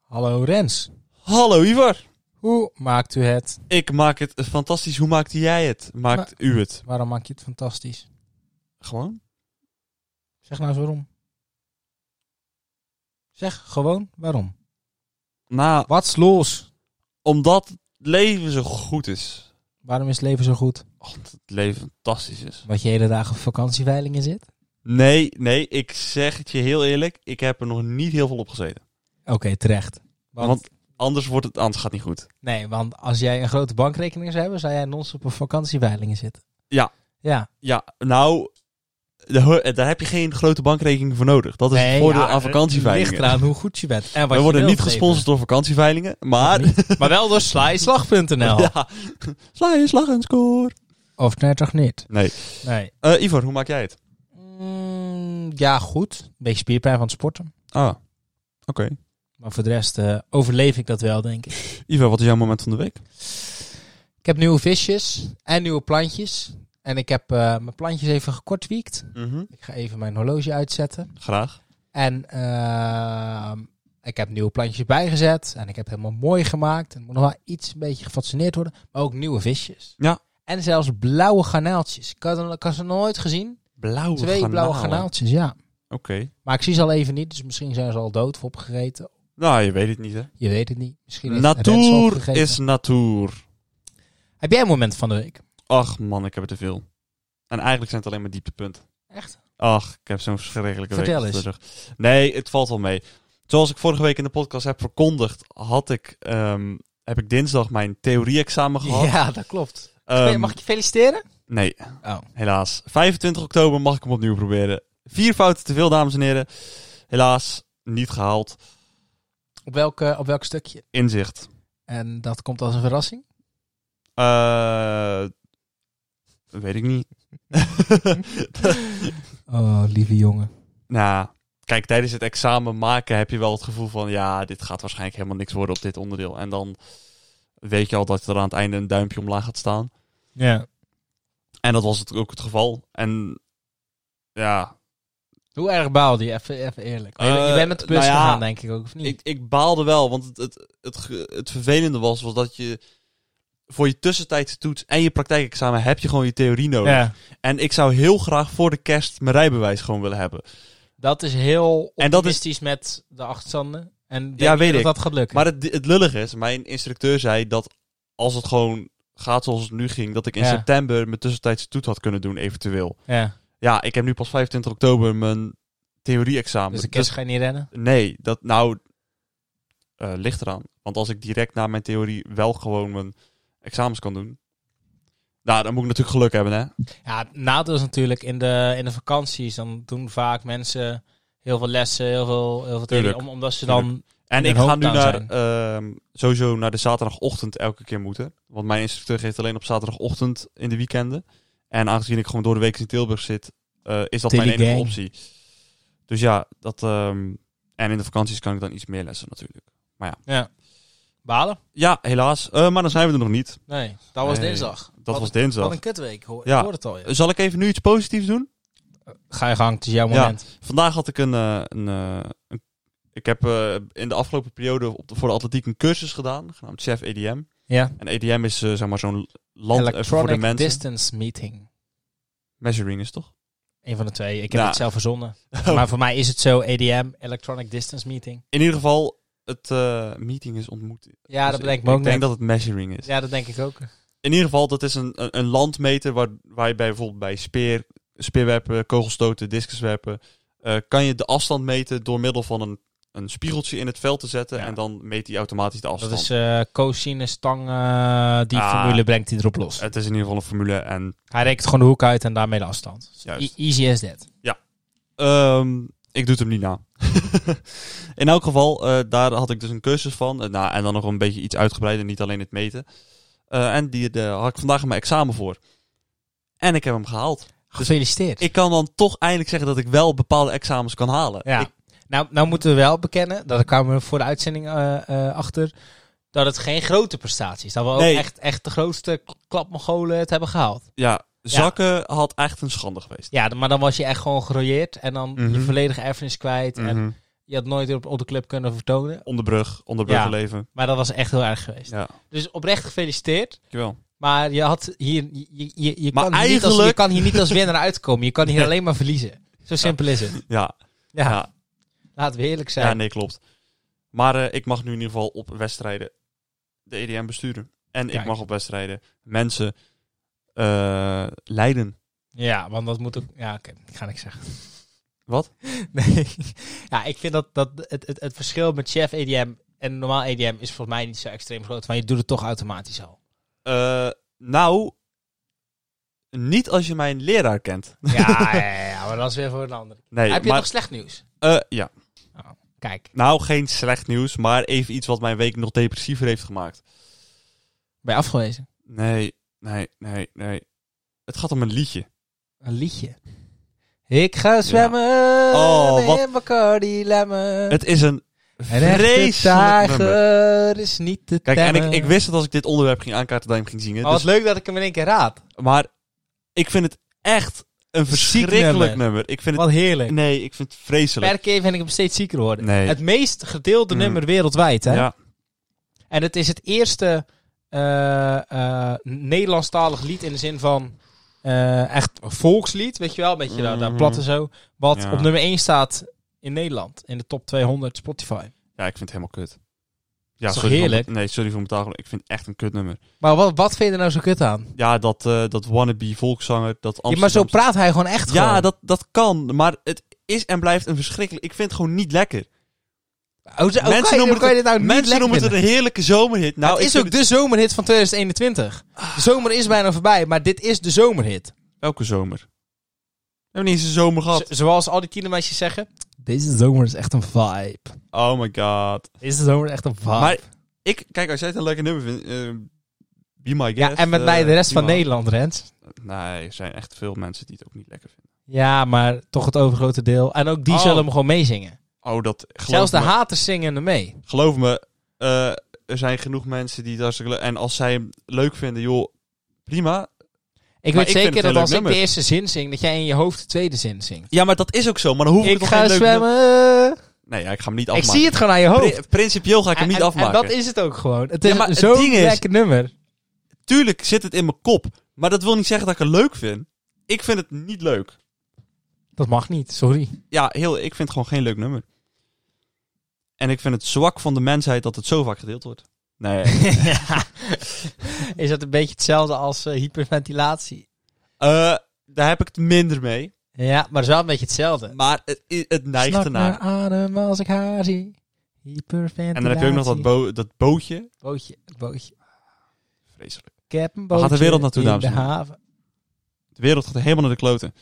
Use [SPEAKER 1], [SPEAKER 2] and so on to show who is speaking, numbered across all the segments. [SPEAKER 1] Hallo Rens,
[SPEAKER 2] Hallo Ivar.
[SPEAKER 1] hoe maakt u het?
[SPEAKER 2] Ik maak het fantastisch. Hoe maakte jij het? Maakt
[SPEAKER 1] Nou,
[SPEAKER 2] u het?
[SPEAKER 1] Waarom maak je het fantastisch?
[SPEAKER 2] Gewoon?
[SPEAKER 1] Zeg nou eens waarom. Zeg gewoon waarom.
[SPEAKER 2] Nou,
[SPEAKER 1] Wat's los?
[SPEAKER 2] omdat het leven zo goed is.
[SPEAKER 1] Waarom is het leven zo goed?
[SPEAKER 2] Omdat het leven fantastisch is.
[SPEAKER 1] Wat je hele dagen op vakantieveilingen zit?
[SPEAKER 2] Nee, nee, ik zeg het je heel eerlijk. Ik heb er nog niet heel veel op gezeten.
[SPEAKER 1] Oké, terecht. Want,
[SPEAKER 2] Want anders wordt het, anders gaat het niet goed.
[SPEAKER 1] nee, want als jij een grote bankrekening zou hebben, zou jij non-stop op vakantieveilingen zitten.
[SPEAKER 2] Ja.
[SPEAKER 1] Ja.
[SPEAKER 2] Ja, nou, de ho- eh, daar heb je geen grote bankrekening voor nodig. Dat is
[SPEAKER 1] Nee,
[SPEAKER 2] het voordeel
[SPEAKER 1] ja,
[SPEAKER 2] aan
[SPEAKER 1] Ligt
[SPEAKER 2] vakantieveilingen.
[SPEAKER 1] eraan hoe goed je bent. En wat
[SPEAKER 2] We
[SPEAKER 1] je
[SPEAKER 2] worden
[SPEAKER 1] wilt
[SPEAKER 2] niet
[SPEAKER 1] geven.
[SPEAKER 2] gesponsord door vakantieveilingen, maar...
[SPEAKER 1] Maar wel door slijslag.nl.
[SPEAKER 2] Ja. Sla je slag en score.
[SPEAKER 1] Of net toch niet?
[SPEAKER 2] Nee.
[SPEAKER 1] Nee.
[SPEAKER 2] Eh, Ivar, hoe maak jij het?
[SPEAKER 1] Mm, ja, goed. Een beetje spierpijn van het sporten.
[SPEAKER 2] Ah, oké.
[SPEAKER 1] Maar voor de rest eh, overleef ik dat wel, denk ik.
[SPEAKER 2] Ivo, wat is jouw moment van de week?
[SPEAKER 1] Ik heb nieuwe visjes en nieuwe plantjes. En ik heb eh, mijn plantjes even gekortwiekt. Ik ga even mijn horloge uitzetten.
[SPEAKER 2] Graag.
[SPEAKER 1] En ehm, ik heb nieuwe plantjes bijgezet. En ik heb het helemaal mooi gemaakt. En er moet nog wel iets een beetje gefatsoeneerd worden. Maar ook nieuwe visjes.
[SPEAKER 2] Ja.
[SPEAKER 1] En zelfs blauwe garnaaltjes. Ik had, ik had ze nog nooit gezien.
[SPEAKER 2] Blauwe
[SPEAKER 1] Twee blauwe garnaaltjes, ja.
[SPEAKER 2] Oké.
[SPEAKER 1] Maar ik zie ze al even niet. Dus misschien zijn ze al dood of opgegeten.
[SPEAKER 2] Nou, je weet het niet, hè?
[SPEAKER 1] Je weet het niet. Misschien heeft Rens ze
[SPEAKER 2] Natuur
[SPEAKER 1] opgegeten.
[SPEAKER 2] is natuur.
[SPEAKER 1] Heb jij een moment van de week?
[SPEAKER 2] Ach man, ik heb er te veel. En eigenlijk zijn het alleen maar dieptepunten.
[SPEAKER 1] Echt?
[SPEAKER 2] Ach, ik heb zo'n verschrikkelijke
[SPEAKER 1] Vertel
[SPEAKER 2] week.
[SPEAKER 1] eens.
[SPEAKER 2] achter de rug. Nee, het valt wel mee. Zoals ik vorige week in de podcast heb verkondigd, had ik, ehm, heb ik dinsdag mijn theorie-examen gehad.
[SPEAKER 1] Ja, dat klopt.
[SPEAKER 2] Ehm,
[SPEAKER 1] Mag ik je feliciteren?
[SPEAKER 2] Nee,
[SPEAKER 1] Oh.
[SPEAKER 2] helaas. 25 oktober mag ik hem opnieuw proberen. Vier fouten te veel, dames en heren. Helaas, niet gehaald.
[SPEAKER 1] Op, welke, op welk stukje?
[SPEAKER 2] Inzicht.
[SPEAKER 1] En dat komt als een verrassing?
[SPEAKER 2] Eh, weet ik niet.
[SPEAKER 1] Oh, lieve jongen.
[SPEAKER 2] nou, kijk, tijdens het examen maken heb je wel het gevoel van... ja, dit gaat waarschijnlijk helemaal niks worden op dit onderdeel. En dan weet je al dat er aan het einde een duimpje omlaag gaat staan.
[SPEAKER 1] Ja.
[SPEAKER 2] En dat was het ook het geval. En ja,
[SPEAKER 1] Hoe erg baalde je? Even, even eerlijk. Maar je- je
[SPEAKER 2] Eh,
[SPEAKER 1] bent met de bus
[SPEAKER 2] nou ja,
[SPEAKER 1] gegaan, denk ik ook, of niet?
[SPEAKER 2] ik, ik baalde wel, want het, het, het, ge- het vervelende was, was dat je... Voor je tussentijdse toets en je praktijkexamen heb je gewoon je theorie nodig.
[SPEAKER 1] ja.
[SPEAKER 2] En ik zou heel graag voor de kerst mijn rijbewijs gewoon willen hebben.
[SPEAKER 1] Dat is heel
[SPEAKER 2] En dat is-
[SPEAKER 1] optimistisch met de achtstanden. En denk
[SPEAKER 2] Ja,
[SPEAKER 1] je
[SPEAKER 2] weet
[SPEAKER 1] dat
[SPEAKER 2] ik.
[SPEAKER 1] dat gaat lukken.
[SPEAKER 2] Maar het, het lullige is, mijn instructeur zei dat als het gewoon gaat zoals het nu ging, dat ik in
[SPEAKER 1] Ja.
[SPEAKER 2] september mijn tussentijdse toet had kunnen doen, eventueel.
[SPEAKER 1] ja.
[SPEAKER 2] Ja, ik heb nu pas 25 oktober mijn theorie-examen.
[SPEAKER 1] Dus de kerst ga je niet rennen?
[SPEAKER 2] Dus nee, dat nou eh, ligt eraan. Want als ik direct na mijn theorie wel gewoon mijn examens kan doen. Nou, dan moet ik natuurlijk geluk hebben, hè?
[SPEAKER 1] Ja, het nadeel is natuurlijk in de, in de vakanties. Dan doen vaak mensen heel veel lessen, heel veel, heel veel theorie.
[SPEAKER 2] Tuurlijk.
[SPEAKER 1] om- Omdat ze
[SPEAKER 2] Tuurlijk.
[SPEAKER 1] dan
[SPEAKER 2] En
[SPEAKER 1] In
[SPEAKER 2] ik
[SPEAKER 1] een
[SPEAKER 2] ga nu
[SPEAKER 1] hometown
[SPEAKER 2] naar,
[SPEAKER 1] zijn.
[SPEAKER 2] ehm, sowieso naar de zaterdagochtend elke keer moeten. Want mijn instructeur geeft alleen op zaterdagochtend in de weekenden. En aangezien ik gewoon door de week in Tilburg zit, eh, is dat mijn enige
[SPEAKER 1] Telegang.
[SPEAKER 2] optie. Dus ja, dat. ehm, en in de vakanties kan ik dan iets meer lessen natuurlijk.
[SPEAKER 1] balen.
[SPEAKER 2] Ja, helaas. Eh, maar dan zijn we er nog niet.
[SPEAKER 1] Nee, dat was
[SPEAKER 2] Nee,
[SPEAKER 1] dinsdag.
[SPEAKER 2] Dat
[SPEAKER 1] Wat
[SPEAKER 2] was
[SPEAKER 1] een- Wat
[SPEAKER 2] dinsdag.
[SPEAKER 1] een kutweek, hoor,
[SPEAKER 2] Ja.
[SPEAKER 1] ik hoor het al. ja.
[SPEAKER 2] Zal ik even nu iets positiefs doen?
[SPEAKER 1] Dus Ga je gang, het is jouw
[SPEAKER 2] Ja.
[SPEAKER 1] moment.
[SPEAKER 2] Vandaag had ik een. eh, een, eh, een- ik heb eh, in de afgelopen periode op de- voor de atletiek een cursus gedaan, genaamd Chef E EDM.
[SPEAKER 1] Ja.
[SPEAKER 2] En EDM is eh, zeg maar zo'n land eh, voor de
[SPEAKER 1] Electronic
[SPEAKER 2] mensen.
[SPEAKER 1] Distance Meeting.
[SPEAKER 2] Measuring is toch?
[SPEAKER 1] Een van de twee. Ik heb
[SPEAKER 2] Ja.
[SPEAKER 1] het zelf verzonnen. Maar voor mij is het zo EDM, Electronic Distance Meeting.
[SPEAKER 2] In ieder geval, het eh, meeting is ontmoet.
[SPEAKER 1] Ja,
[SPEAKER 2] Dus
[SPEAKER 1] dat bedenk ik
[SPEAKER 2] ik
[SPEAKER 1] me ook
[SPEAKER 2] Ik denk
[SPEAKER 1] net.
[SPEAKER 2] dat het measuring is.
[SPEAKER 1] Ja, dat denk ik ook.
[SPEAKER 2] In ieder geval, dat is een, een, een landmeter waar, waar je bij, bijvoorbeeld bij speer, speerwerpen, kogelstoten, discuswerpen... eh, kan je de afstand meten door middel van een, een spiegeltje in het veld te zetten.
[SPEAKER 1] Ja.
[SPEAKER 2] En dan meet hij automatisch de
[SPEAKER 1] Dat
[SPEAKER 2] afstand.
[SPEAKER 1] is eh cosinus tang, eh, die
[SPEAKER 2] Ah.
[SPEAKER 1] formule brengt hij erop los.
[SPEAKER 2] Het is in ieder geval een formule. En
[SPEAKER 1] Hij rekent gewoon de hoek uit en daarmee de afstand. Dus
[SPEAKER 2] Juist. Dus
[SPEAKER 1] e- easy as that.
[SPEAKER 2] ehm, ik doe het hem niet na. in elk geval, eh, daar had ik dus een cursus van. Eh, nou, en dan nog een beetje iets uitgebreider, niet alleen het meten. Eh, en die de, had ik vandaag mijn examen voor. En ik heb hem gehaald.
[SPEAKER 1] Gefeliciteerd.
[SPEAKER 2] ik kan dan toch eindelijk zeggen dat ik wel bepaalde examens kan halen.
[SPEAKER 1] ja.
[SPEAKER 2] Ik-
[SPEAKER 1] nou, nou moeten we wel bekennen, dat kwamen we voor de uitzending eh, eh, achter, dat het geen grote prestatie is. Dat we ook
[SPEAKER 2] Nee.
[SPEAKER 1] echt, echt de grootste klapmogolen het hebben gehaald.
[SPEAKER 2] ja, Zakken had echt een schande geweest.
[SPEAKER 1] Ja, d- maar dan was je echt gewoon gerooieerd en dan je
[SPEAKER 2] Mhm.
[SPEAKER 1] volledige erfenis kwijt. En
[SPEAKER 2] Mhm.
[SPEAKER 1] je had nooit op, op de club kunnen vertonen.
[SPEAKER 2] Onderbrug, onderbruggenleven.
[SPEAKER 1] Maar dat was echt heel erg geweest.
[SPEAKER 2] Ja.
[SPEAKER 1] Dus oprecht gefeliciteerd.
[SPEAKER 2] Dankjewel.
[SPEAKER 1] Maar je had hier, je, je, je,
[SPEAKER 2] Maar
[SPEAKER 1] kan, hier niet als, je
[SPEAKER 2] eigenlijk-
[SPEAKER 1] kan hier niet als winnaar uitkomen. Je kan hier
[SPEAKER 2] Nee.
[SPEAKER 1] alleen maar verliezen. Zo simpel is het.
[SPEAKER 2] Ja,
[SPEAKER 1] Ja,
[SPEAKER 2] Ja.
[SPEAKER 1] laten we eerlijk zijn.
[SPEAKER 2] ja, nee, klopt. Maar eh, ik mag nu in ieder geval op wedstrijden de EDM besturen. En
[SPEAKER 1] Kijk.
[SPEAKER 2] ik mag op wedstrijden mensen eh, leiden.
[SPEAKER 1] Ja, want dat moet ook... Ja, oké, ik ga niks zeggen.
[SPEAKER 2] Wat?
[SPEAKER 1] Nee. Ja, ik vind dat, dat het, het, het verschil met chef EDM en normaal EDM is volgens mij niet zo extreem groot. Maar je doet het toch automatisch al.
[SPEAKER 2] Eh, nou, niet als je mijn leraar kent.
[SPEAKER 1] Ja, ja, ja, ja, maar dat is weer voor een ander.
[SPEAKER 2] Nee,
[SPEAKER 1] Heb je
[SPEAKER 2] maar,
[SPEAKER 1] nog slecht nieuws?
[SPEAKER 2] eh, ja.
[SPEAKER 1] Kijk,
[SPEAKER 2] Nou, geen slecht nieuws, maar even iets wat mijn week nog depressiever heeft gemaakt.
[SPEAKER 1] ben je afgewezen?
[SPEAKER 2] Nee, nee, nee, nee. Het gaat om een liedje.
[SPEAKER 1] Een liedje. Ik ga zwemmen
[SPEAKER 2] Oh, wat-
[SPEAKER 1] in Bacardi Lemmen.
[SPEAKER 2] Het is een
[SPEAKER 1] Een echte
[SPEAKER 2] vreselijk nummer.
[SPEAKER 1] Eh. tijger is niet te
[SPEAKER 2] Kijk, en
[SPEAKER 1] temmen.
[SPEAKER 2] ik, ik wist dat als ik dit onderwerp ging aankaarten, dat je hem ging zingen.
[SPEAKER 1] Oh,
[SPEAKER 2] Dus
[SPEAKER 1] wat leuk dat ik hem in één keer raad.
[SPEAKER 2] Maar ik vind het echt een verschrikkelijk
[SPEAKER 1] nummer.
[SPEAKER 2] nummer. Ik vind het,
[SPEAKER 1] Wat heerlijk.
[SPEAKER 2] nee, ik vind het vreselijk.
[SPEAKER 1] Per keer vind ik hem steeds zieker worden.
[SPEAKER 2] Nee.
[SPEAKER 1] Het meest gedeelde
[SPEAKER 2] Mm.
[SPEAKER 1] nummer wereldwijd, hè?
[SPEAKER 2] Ja,
[SPEAKER 1] En het is het eerste eh, eh, Nederlandstalig lied in de zin van eh, echt volkslied, weet je wel, een beetje daar, daar
[SPEAKER 2] Mhm.
[SPEAKER 1] plat en zo. Wat
[SPEAKER 2] Ja.
[SPEAKER 1] op nummer 1 staat in Nederland, in de top 200 Spotify.
[SPEAKER 2] ja, ik vind het helemaal kut. Ja,
[SPEAKER 1] Is toch
[SPEAKER 2] sorry voor
[SPEAKER 1] heerlijk?
[SPEAKER 2] mijn- nee, sorry voor mijn taal. Ik vind het echt een kutnummer.
[SPEAKER 1] Maar wat, wat vind je er nou zo kut aan?
[SPEAKER 2] Ja, dat, eh, dat wannabe volkszanger, dat
[SPEAKER 1] Ja, maar
[SPEAKER 2] Amsterdam...
[SPEAKER 1] zo praat hij gewoon echt
[SPEAKER 2] Ja,
[SPEAKER 1] gewoon.
[SPEAKER 2] dat, dat kan. Maar het is en blijft een verschrikkelijk... Ik vind het gewoon niet lekker.
[SPEAKER 1] Hoe- hoe kan je-
[SPEAKER 2] noemen
[SPEAKER 1] hoe
[SPEAKER 2] het
[SPEAKER 1] kan je dit nou niet
[SPEAKER 2] Mensen
[SPEAKER 1] lekker
[SPEAKER 2] noemen het
[SPEAKER 1] vinden?
[SPEAKER 2] een heerlijke zomerhit. Nou,
[SPEAKER 1] het
[SPEAKER 2] ik
[SPEAKER 1] is
[SPEAKER 2] vind
[SPEAKER 1] ook de zomerhit van 2021. De zomer is bijna voorbij, maar dit is de zomerhit.
[SPEAKER 2] Welke zomer? We hebben niet eens een zomer gehad.
[SPEAKER 1] Zo- zoals al die tienermeisjes zeggen. Deze zomer is echt een vibe.
[SPEAKER 2] Oh my god.
[SPEAKER 1] Deze zomer is echt een vibe.
[SPEAKER 2] Maar ik... Kijk, als jij het een lekker nummer vindt... eh, be my guest.
[SPEAKER 1] ja, en met
[SPEAKER 2] eh,
[SPEAKER 1] mij de rest van
[SPEAKER 2] prima.
[SPEAKER 1] Nederland, Rens.
[SPEAKER 2] Nee, er zijn echt veel mensen die het ook niet lekker vinden.
[SPEAKER 1] Ja, maar toch het overgrote deel. En ook die
[SPEAKER 2] Oh.
[SPEAKER 1] zullen hem gewoon meezingen.
[SPEAKER 2] Oh, dat geloof
[SPEAKER 1] Zelfs de
[SPEAKER 2] me.
[SPEAKER 1] haters zingen er mee.
[SPEAKER 2] Geloof me, eh, er zijn genoeg mensen die het hartstikke leuk En als zij hem leuk vinden, joh, prima.
[SPEAKER 1] Ik
[SPEAKER 2] Maar
[SPEAKER 1] weet
[SPEAKER 2] ik
[SPEAKER 1] zeker
[SPEAKER 2] vind het
[SPEAKER 1] dat
[SPEAKER 2] een
[SPEAKER 1] als
[SPEAKER 2] leuk
[SPEAKER 1] ik de
[SPEAKER 2] nummer.
[SPEAKER 1] eerste zin zing, dat jij in je hoofd de tweede zin zingt.
[SPEAKER 2] Ja, maar dat is ook zo. Maar dan hoef ik,
[SPEAKER 1] Ik
[SPEAKER 2] toch
[SPEAKER 1] ga
[SPEAKER 2] geen leuk Oh, nummer-
[SPEAKER 1] zwemmen.
[SPEAKER 2] Nee, ja, ik ga hem niet
[SPEAKER 1] Ik
[SPEAKER 2] afmaken.
[SPEAKER 1] zie het gewoon aan je hoofd.
[SPEAKER 2] Pri- principieel ga ik hem
[SPEAKER 1] En-
[SPEAKER 2] niet
[SPEAKER 1] en-
[SPEAKER 2] afmaken.
[SPEAKER 1] En dat is het ook gewoon. Het
[SPEAKER 2] Ja,
[SPEAKER 1] is
[SPEAKER 2] maar het
[SPEAKER 1] zo'n
[SPEAKER 2] ding is-
[SPEAKER 1] lekker nummer.
[SPEAKER 2] Tuurlijk zit het in mijn kop. Maar dat wil niet zeggen dat ik het leuk vind. Ik vind het niet leuk.
[SPEAKER 1] Dat mag niet, sorry.
[SPEAKER 2] Ja, heel, ik vind het gewoon geen leuk nummer. En ik vind het zwak van de mensheid dat het zo vaak gedeeld wordt. Nee.
[SPEAKER 1] Is dat een beetje hetzelfde als eh, hyperventilatie?
[SPEAKER 2] Eh, daar heb ik het minder mee.
[SPEAKER 1] Ja, maar het is wel een beetje hetzelfde.
[SPEAKER 2] Maar het, het neigt
[SPEAKER 1] Snak
[SPEAKER 2] ernaar.
[SPEAKER 1] naar adem als ik haar zie. Hyperventilatie.
[SPEAKER 2] En dan heb je ook nog dat, bo- dat bootje.
[SPEAKER 1] bootje. het bootje.
[SPEAKER 2] Vreselijk.
[SPEAKER 1] Ik heb een
[SPEAKER 2] Waar
[SPEAKER 1] bootje
[SPEAKER 2] gaat de wereld naartoe,
[SPEAKER 1] in
[SPEAKER 2] dames
[SPEAKER 1] de
[SPEAKER 2] en heren?
[SPEAKER 1] haven.
[SPEAKER 2] De wereld gaat helemaal naar de kloten.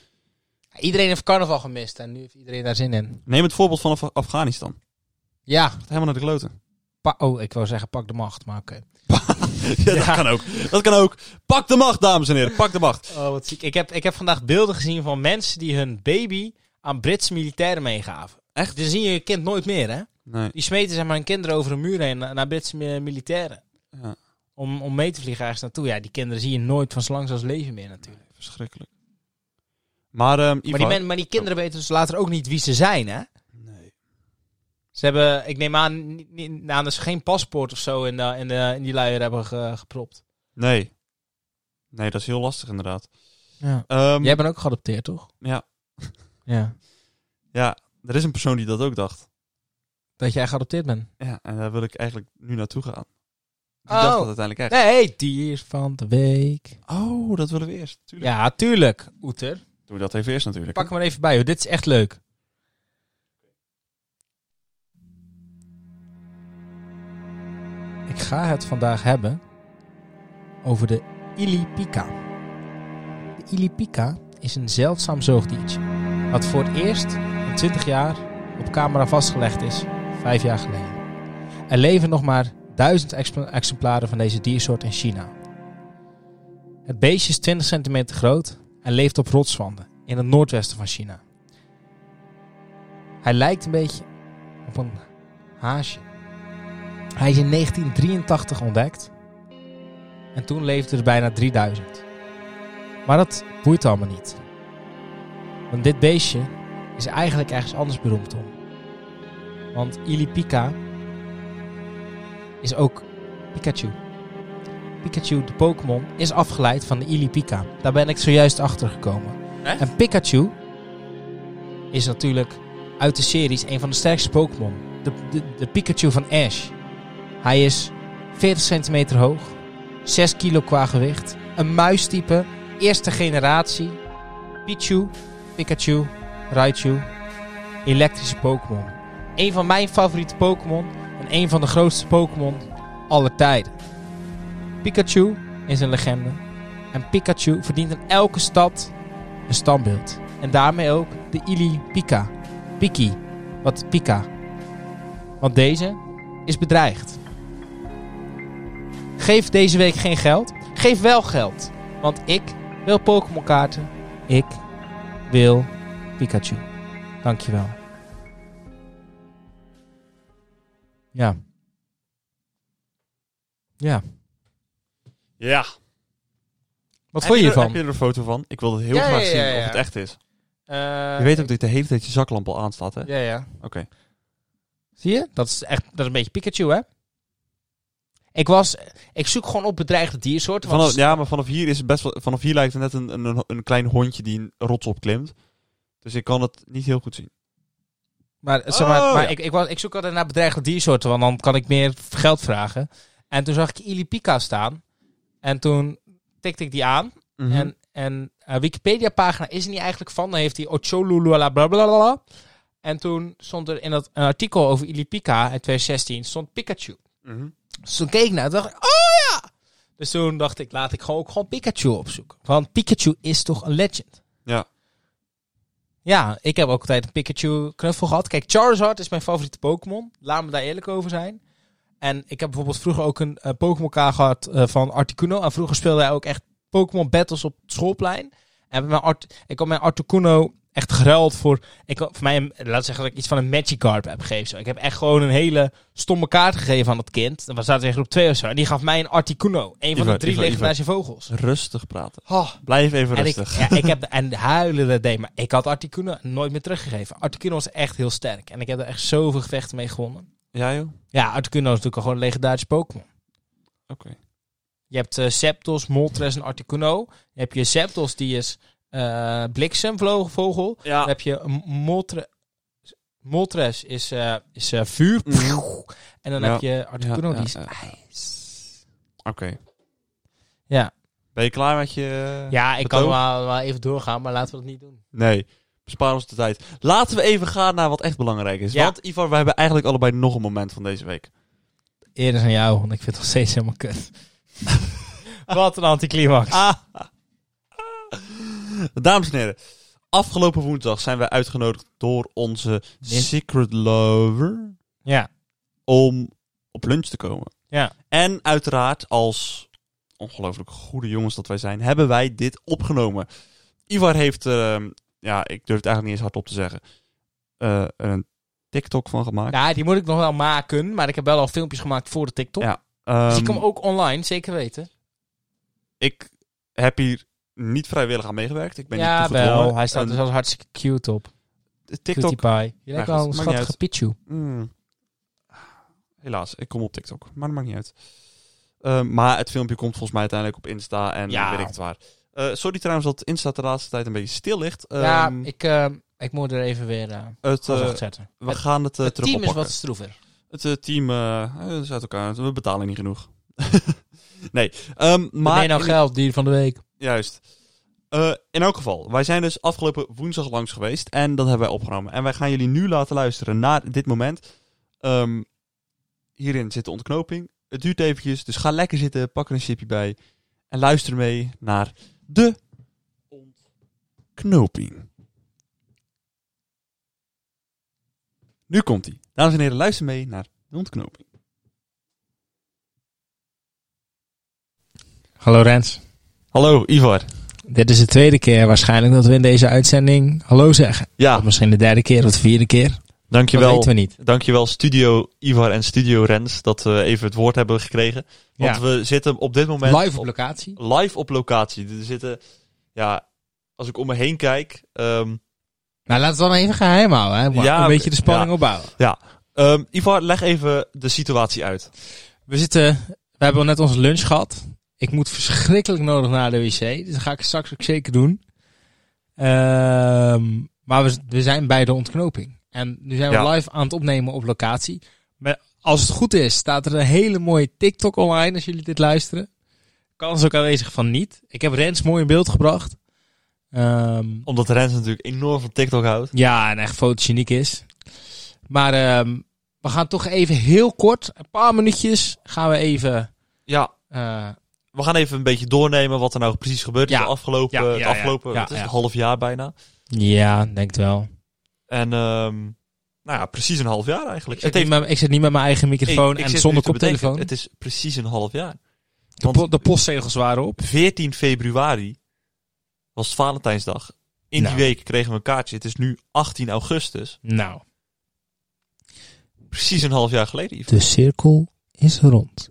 [SPEAKER 1] Iedereen heeft carnaval gemist en nu heeft iedereen daar zin in.
[SPEAKER 2] Neem het voorbeeld van Af- Afghanistan. Het
[SPEAKER 1] Ja,
[SPEAKER 2] gaat helemaal naar de kloten.
[SPEAKER 1] pa- oh, ik wou zeggen pak de macht, maar oké.
[SPEAKER 2] ja, dat kan ook. Dat kan ook. Pak de macht, dames en heren. Pak de macht.
[SPEAKER 1] Oh, wat ziek. Ik heb, ik heb vandaag beelden gezien van mensen die hun baby aan Britse militairen meegaven. Dus
[SPEAKER 2] Echt?
[SPEAKER 1] Dan zie je je kind nooit meer, hè?
[SPEAKER 2] Nee.
[SPEAKER 1] Die smeten zeg maar hun kinderen over een muur heen na- naar Britse mi- militairen.
[SPEAKER 2] Ja,
[SPEAKER 1] Om, om mee te vliegen ergens naartoe. Ja, die kinderen zie je nooit van zo lang als leven meer natuurlijk.
[SPEAKER 2] verschrikkelijk. Maar, ehm
[SPEAKER 1] Maar die, men- maar die kinderen weten dus later ook niet wie ze zijn, hè?
[SPEAKER 2] Nee.
[SPEAKER 1] Ze hebben, ik neem aan, niet, niet- nou, dat ze geen paspoort of zo in, de, in, de, in die luier hebben ge- gepropt.
[SPEAKER 2] Nee. Nee, dat is heel lastig inderdaad.
[SPEAKER 1] Ja.
[SPEAKER 2] Ehm,
[SPEAKER 1] Jij bent ook geadopteerd, toch?
[SPEAKER 2] Ja.
[SPEAKER 1] Ja.
[SPEAKER 2] Ja, er is een persoon die dat ook dacht.
[SPEAKER 1] Dat jij geadopteerd bent.
[SPEAKER 2] Ja, en daar wil ik eigenlijk nu naartoe gaan. Die
[SPEAKER 1] Oh.
[SPEAKER 2] dacht dat uiteindelijk echt.
[SPEAKER 1] Nee, dier van de week.
[SPEAKER 2] Oh, dat willen we eerst. Tuurlijk.
[SPEAKER 1] Ja, tuurlijk, Oeter.
[SPEAKER 2] Doe dat even eerst natuurlijk.
[SPEAKER 1] Pak hem er even bij, hoor. dit is echt leuk. Ik ga het vandaag hebben over de ilipika. De ilipika is een zeldzaam zoogdiertje. Wat voor het eerst in 20 jaar op camera vastgelegd is, vijf jaar geleden. Er leven nog maar duizend exp- exemplaren van deze diersoort in China. Het beestje is 20 centimeter groot en leeft op rotswanden in het noordwesten van China. Hij lijkt een beetje op een haasje. Hij is in 1983 ontdekt en toen leefde er bijna 3000. Maar dat boeit allemaal niet. Want dit beestje is eigenlijk ergens anders beroemd om. Want Ilipika is ook Pikachu. Pikachu, de Pokémon, is afgeleid van de Ilipika. Daar ben ik zojuist achter gekomen.
[SPEAKER 2] Echt?
[SPEAKER 1] En Pikachu is natuurlijk uit de series een van de sterkste Pokémon. De, de, de Pikachu van Ash. Hij is 40 centimeter hoog, 6 kilo qua gewicht, een muistype, eerste generatie. Pichu, Pikachu, Raichu, elektrische Pokémon. Een van mijn favoriete Pokémon en een van de grootste Pokémon aller tijden. Pikachu is een legende en Pikachu verdient in elke stad een standbeeld. En daarmee ook de Ili Pika, Piki, wat Pika. Want deze is bedreigd. Geef deze week geen geld. Geef wel geld. Want ik wil Pokémon kaarten. Ik wil Pikachu. Dankjewel. Ja. Ja.
[SPEAKER 2] Ja.
[SPEAKER 1] Wat vond je
[SPEAKER 2] Heb er-
[SPEAKER 1] ervan?
[SPEAKER 2] Heb je er een foto van? Ik wil het heel
[SPEAKER 1] Ja,
[SPEAKER 2] graag
[SPEAKER 1] ja,
[SPEAKER 2] zien
[SPEAKER 1] ja, ja.
[SPEAKER 2] of het echt is.
[SPEAKER 1] Eh,
[SPEAKER 2] je weet ook dat je de hele tijd je zaklamp al aanstaat, hè?
[SPEAKER 1] Ja, ja.
[SPEAKER 2] Oké.
[SPEAKER 1] Zie je? Dat is echt dat is een beetje Pikachu, hè? Ik was... Ik zoek gewoon op bedreigde diersoorten. want-
[SPEAKER 2] Vanaf, ja, maar vanaf hier is het best wel. Vanaf hier lijkt het net een, een, een klein hondje die een rots opklimt. Dus ik kan het niet heel goed zien.
[SPEAKER 1] Maar, zeg maar,
[SPEAKER 2] Oh,
[SPEAKER 1] maar
[SPEAKER 2] ja.
[SPEAKER 1] ik, ik, was, ik zoek altijd naar bedreigde diersoorten, want dan kan ik meer geld vragen. En toen zag ik Ilipika staan. En toen tikte ik die aan.
[SPEAKER 2] Mhm.
[SPEAKER 1] En, en eh, Wikipedia-pagina is er niet eigenlijk van. Dan heeft hij Ocholulula blablabla. En toen stond er in dat een artikel over Ilipika uit 2016 stond Pikachu.
[SPEAKER 2] Mhm.
[SPEAKER 1] Dus toen keek ik naar en dacht ik, oh ja! Dus toen dacht ik, laat ik gewoon ook gewoon Pikachu opzoeken. Want Pikachu is toch een legend?
[SPEAKER 2] Ja.
[SPEAKER 1] Ja, ik heb ook altijd een Pikachu knuffel gehad. Kijk, Charizard is mijn favoriete Pokémon. Laat me daar eerlijk over zijn. En ik heb bijvoorbeeld vroeger ook een eh, Pokémon kaart gehad eh, van Articuno. En vroeger speelde hij ook echt Pokémon battles op het schoolplein. En mijn Art ik had mijn Articuno echt geruild voor... Ik had voor mij, een, laat ik zeggen dat ik iets van een Magikarp heb gegeven. Zo. Ik heb echt gewoon een hele stomme kaart gegeven aan dat kind. Dan zaten we in groep 2 of zo. En die gaf mij een Articuno. Een van
[SPEAKER 2] Ivar,
[SPEAKER 1] de drie
[SPEAKER 2] Ivar, Ivar.
[SPEAKER 1] legendarische vogels.
[SPEAKER 2] Rustig praten.
[SPEAKER 1] Oh.
[SPEAKER 2] Blijf even
[SPEAKER 1] En ik,
[SPEAKER 2] rustig.
[SPEAKER 1] ja, ik heb, en huilen dat deed, maar ik had Articuno nooit meer teruggegeven. Articuno was echt heel sterk. En ik heb er echt zoveel gevechten mee gewonnen.
[SPEAKER 2] Ja, joh. Oké.
[SPEAKER 1] Ja, Articuno is natuurlijk al gewoon een legendarische Pokémon. Je hebt eh, Septos, Moltres en Articuno. Je hebt je Septos, die is eh bliksemvogel. Dan
[SPEAKER 2] Ja.
[SPEAKER 1] heb je M- Moltre, Moltres, is, eh, is eh, vuur.
[SPEAKER 2] Mhm.
[SPEAKER 1] En dan
[SPEAKER 2] Ja.
[SPEAKER 1] heb je Articuno,
[SPEAKER 2] Ja,
[SPEAKER 1] die is
[SPEAKER 2] ja, ja.
[SPEAKER 1] ijs.
[SPEAKER 2] Oké.
[SPEAKER 1] Ja.
[SPEAKER 2] Ben je klaar met je.
[SPEAKER 1] Ja, ik kan
[SPEAKER 2] Betoog?
[SPEAKER 1] wel, wel even doorgaan, maar laten we dat niet doen.
[SPEAKER 2] Nee. Bespaar ons de tijd. Laten we even gaan naar wat echt belangrijk is.
[SPEAKER 1] Ja.
[SPEAKER 2] Want Ivar, we hebben eigenlijk allebei nog een moment van deze week.
[SPEAKER 1] Eerder aan jou, want ik vind het nog steeds helemaal kut. Wat een anticlimax.
[SPEAKER 2] Ah. Dames en heren, afgelopen woensdag zijn wij uitgenodigd door onze
[SPEAKER 1] Min-
[SPEAKER 2] secret lover
[SPEAKER 1] Ja,
[SPEAKER 2] om op lunch te komen.
[SPEAKER 1] ja.
[SPEAKER 2] En uiteraard, als ongelooflijk goede jongens dat wij zijn, hebben wij dit opgenomen. Ivar heeft, ehm, ja, ik durf het eigenlijk niet eens hardop te zeggen, eh, er een TikTok van gemaakt.
[SPEAKER 1] Nou, die moet ik nog wel maken, maar ik heb wel al filmpjes gemaakt voor de TikTok.
[SPEAKER 2] Ja,
[SPEAKER 1] Zie
[SPEAKER 2] Ehm,
[SPEAKER 1] Dus ik hem ook online, zeker weten.
[SPEAKER 2] ik heb hier niet vrijwillig aan meegewerkt. Ik ben
[SPEAKER 1] ja,
[SPEAKER 2] niet
[SPEAKER 1] wel.
[SPEAKER 2] toegedwongen.
[SPEAKER 1] Hij staat dus er
[SPEAKER 2] Een
[SPEAKER 1] zelfs hartstikke cute op.
[SPEAKER 2] TikTok.
[SPEAKER 1] Cutie pie. Je lijkt wel een
[SPEAKER 2] goed, maakt niet
[SPEAKER 1] schattige
[SPEAKER 2] uit.
[SPEAKER 1] Pichu. Hmm.
[SPEAKER 2] Mm. Helaas, ik kom op TikTok. Maar dat maakt niet uit. Eh, maar het filmpje komt volgens mij uiteindelijk op Insta en
[SPEAKER 1] Ja.
[SPEAKER 2] weet ik het waar. Eh, sorry trouwens dat Insta de laatste tijd een beetje stil ligt.
[SPEAKER 1] ja,
[SPEAKER 2] Ehm,
[SPEAKER 1] ik, eh, ik moet er even weer eh
[SPEAKER 2] het, eh,
[SPEAKER 1] gas achter zetten.
[SPEAKER 2] we
[SPEAKER 1] het-
[SPEAKER 2] gaan het, eh,
[SPEAKER 1] Het
[SPEAKER 2] terug
[SPEAKER 1] team is
[SPEAKER 2] oppakken.
[SPEAKER 1] wat stroever.
[SPEAKER 2] Het eh, team eh, eh, is uit elkaar. We betalen niet genoeg. nee, ehm,
[SPEAKER 1] Maar
[SPEAKER 2] maar...
[SPEAKER 1] nou
[SPEAKER 2] in-
[SPEAKER 1] geld, dier van de week.
[SPEAKER 2] Juist. Eh, in elk geval, wij zijn dus afgelopen woensdag langs geweest en dat hebben wij opgenomen. En wij gaan jullie nu laten luisteren naar dit moment. Ehm, hierin zit de ontknoping. Het duurt eventjes, dus ga lekker zitten, pak er een chipje bij en luister mee naar de ontknoping. Nu komt hij. Dames en heren, luister mee naar de ontknoping.
[SPEAKER 1] Hallo Rens.
[SPEAKER 2] Hallo, Ivar.
[SPEAKER 1] Dit is de tweede keer waarschijnlijk dat we in deze uitzending hallo zeggen.
[SPEAKER 2] Ja,
[SPEAKER 1] misschien de derde keer of de vierde keer.
[SPEAKER 2] dankjewel.
[SPEAKER 1] we niet.
[SPEAKER 2] Dankjewel Studio Ivar en Studio Rens dat we even het woord hebben gekregen. Want we zitten op dit moment
[SPEAKER 1] Live op locatie.
[SPEAKER 2] live op locatie. Er zitten ja, als ik om me heen kijk, ehm,
[SPEAKER 1] Nou, laten we het dan even geheim houden. Hè? Mark?
[SPEAKER 2] Ja,
[SPEAKER 1] een
[SPEAKER 2] oké.
[SPEAKER 1] beetje de spanning opbouwen.
[SPEAKER 2] ehm, Ivar, leg even de situatie uit.
[SPEAKER 1] We zitten, we hebben net onze lunch gehad. Ik moet verschrikkelijk nodig naar de wc. Dus dat ga ik straks ook zeker doen. Ehm, maar we, we zijn bij de ontknoping. En nu zijn we
[SPEAKER 3] Ja.
[SPEAKER 1] live aan het opnemen op locatie. Maar als het goed is, staat er een hele mooie TikTok online als jullie dit luisteren. Kans ook aanwezig van niet. Ik heb Rens mooi in beeld gebracht. Ehm,
[SPEAKER 2] Omdat Rens natuurlijk enorm van TikTok houdt.
[SPEAKER 1] ja, en echt fotogeniek is. Maar ehm, we gaan toch even heel kort, een paar minuutjes, gaan we even...
[SPEAKER 2] Ja,
[SPEAKER 1] eh,
[SPEAKER 2] we gaan even een beetje doornemen wat er nou precies gebeurd is
[SPEAKER 1] Ja.
[SPEAKER 2] de afgelopen,
[SPEAKER 1] Ja, ja,
[SPEAKER 2] het
[SPEAKER 1] ja.
[SPEAKER 2] afgelopen
[SPEAKER 1] Ja,
[SPEAKER 2] wat is het,
[SPEAKER 1] ja.
[SPEAKER 2] half jaar bijna.
[SPEAKER 1] Ja, denk het wel.
[SPEAKER 2] En ehm, nou ja, precies een half jaar eigenlijk.
[SPEAKER 1] Ik zit, niet met, ik zit niet met mijn eigen microfoon
[SPEAKER 2] ik- ik
[SPEAKER 1] en
[SPEAKER 2] zit
[SPEAKER 1] zonder
[SPEAKER 2] nu te bedenken,
[SPEAKER 1] koptelefoon.
[SPEAKER 2] Het is precies een half jaar.
[SPEAKER 1] de,
[SPEAKER 2] want-
[SPEAKER 1] po- de postzegels waren op.
[SPEAKER 2] 14 februari was het Valentijnsdag. In
[SPEAKER 1] Nou.
[SPEAKER 2] die week kregen we een kaartje. Het is nu 18 augustus.
[SPEAKER 1] Nou,
[SPEAKER 2] Precies een half jaar geleden, Ivar.
[SPEAKER 1] de cirkel is rond.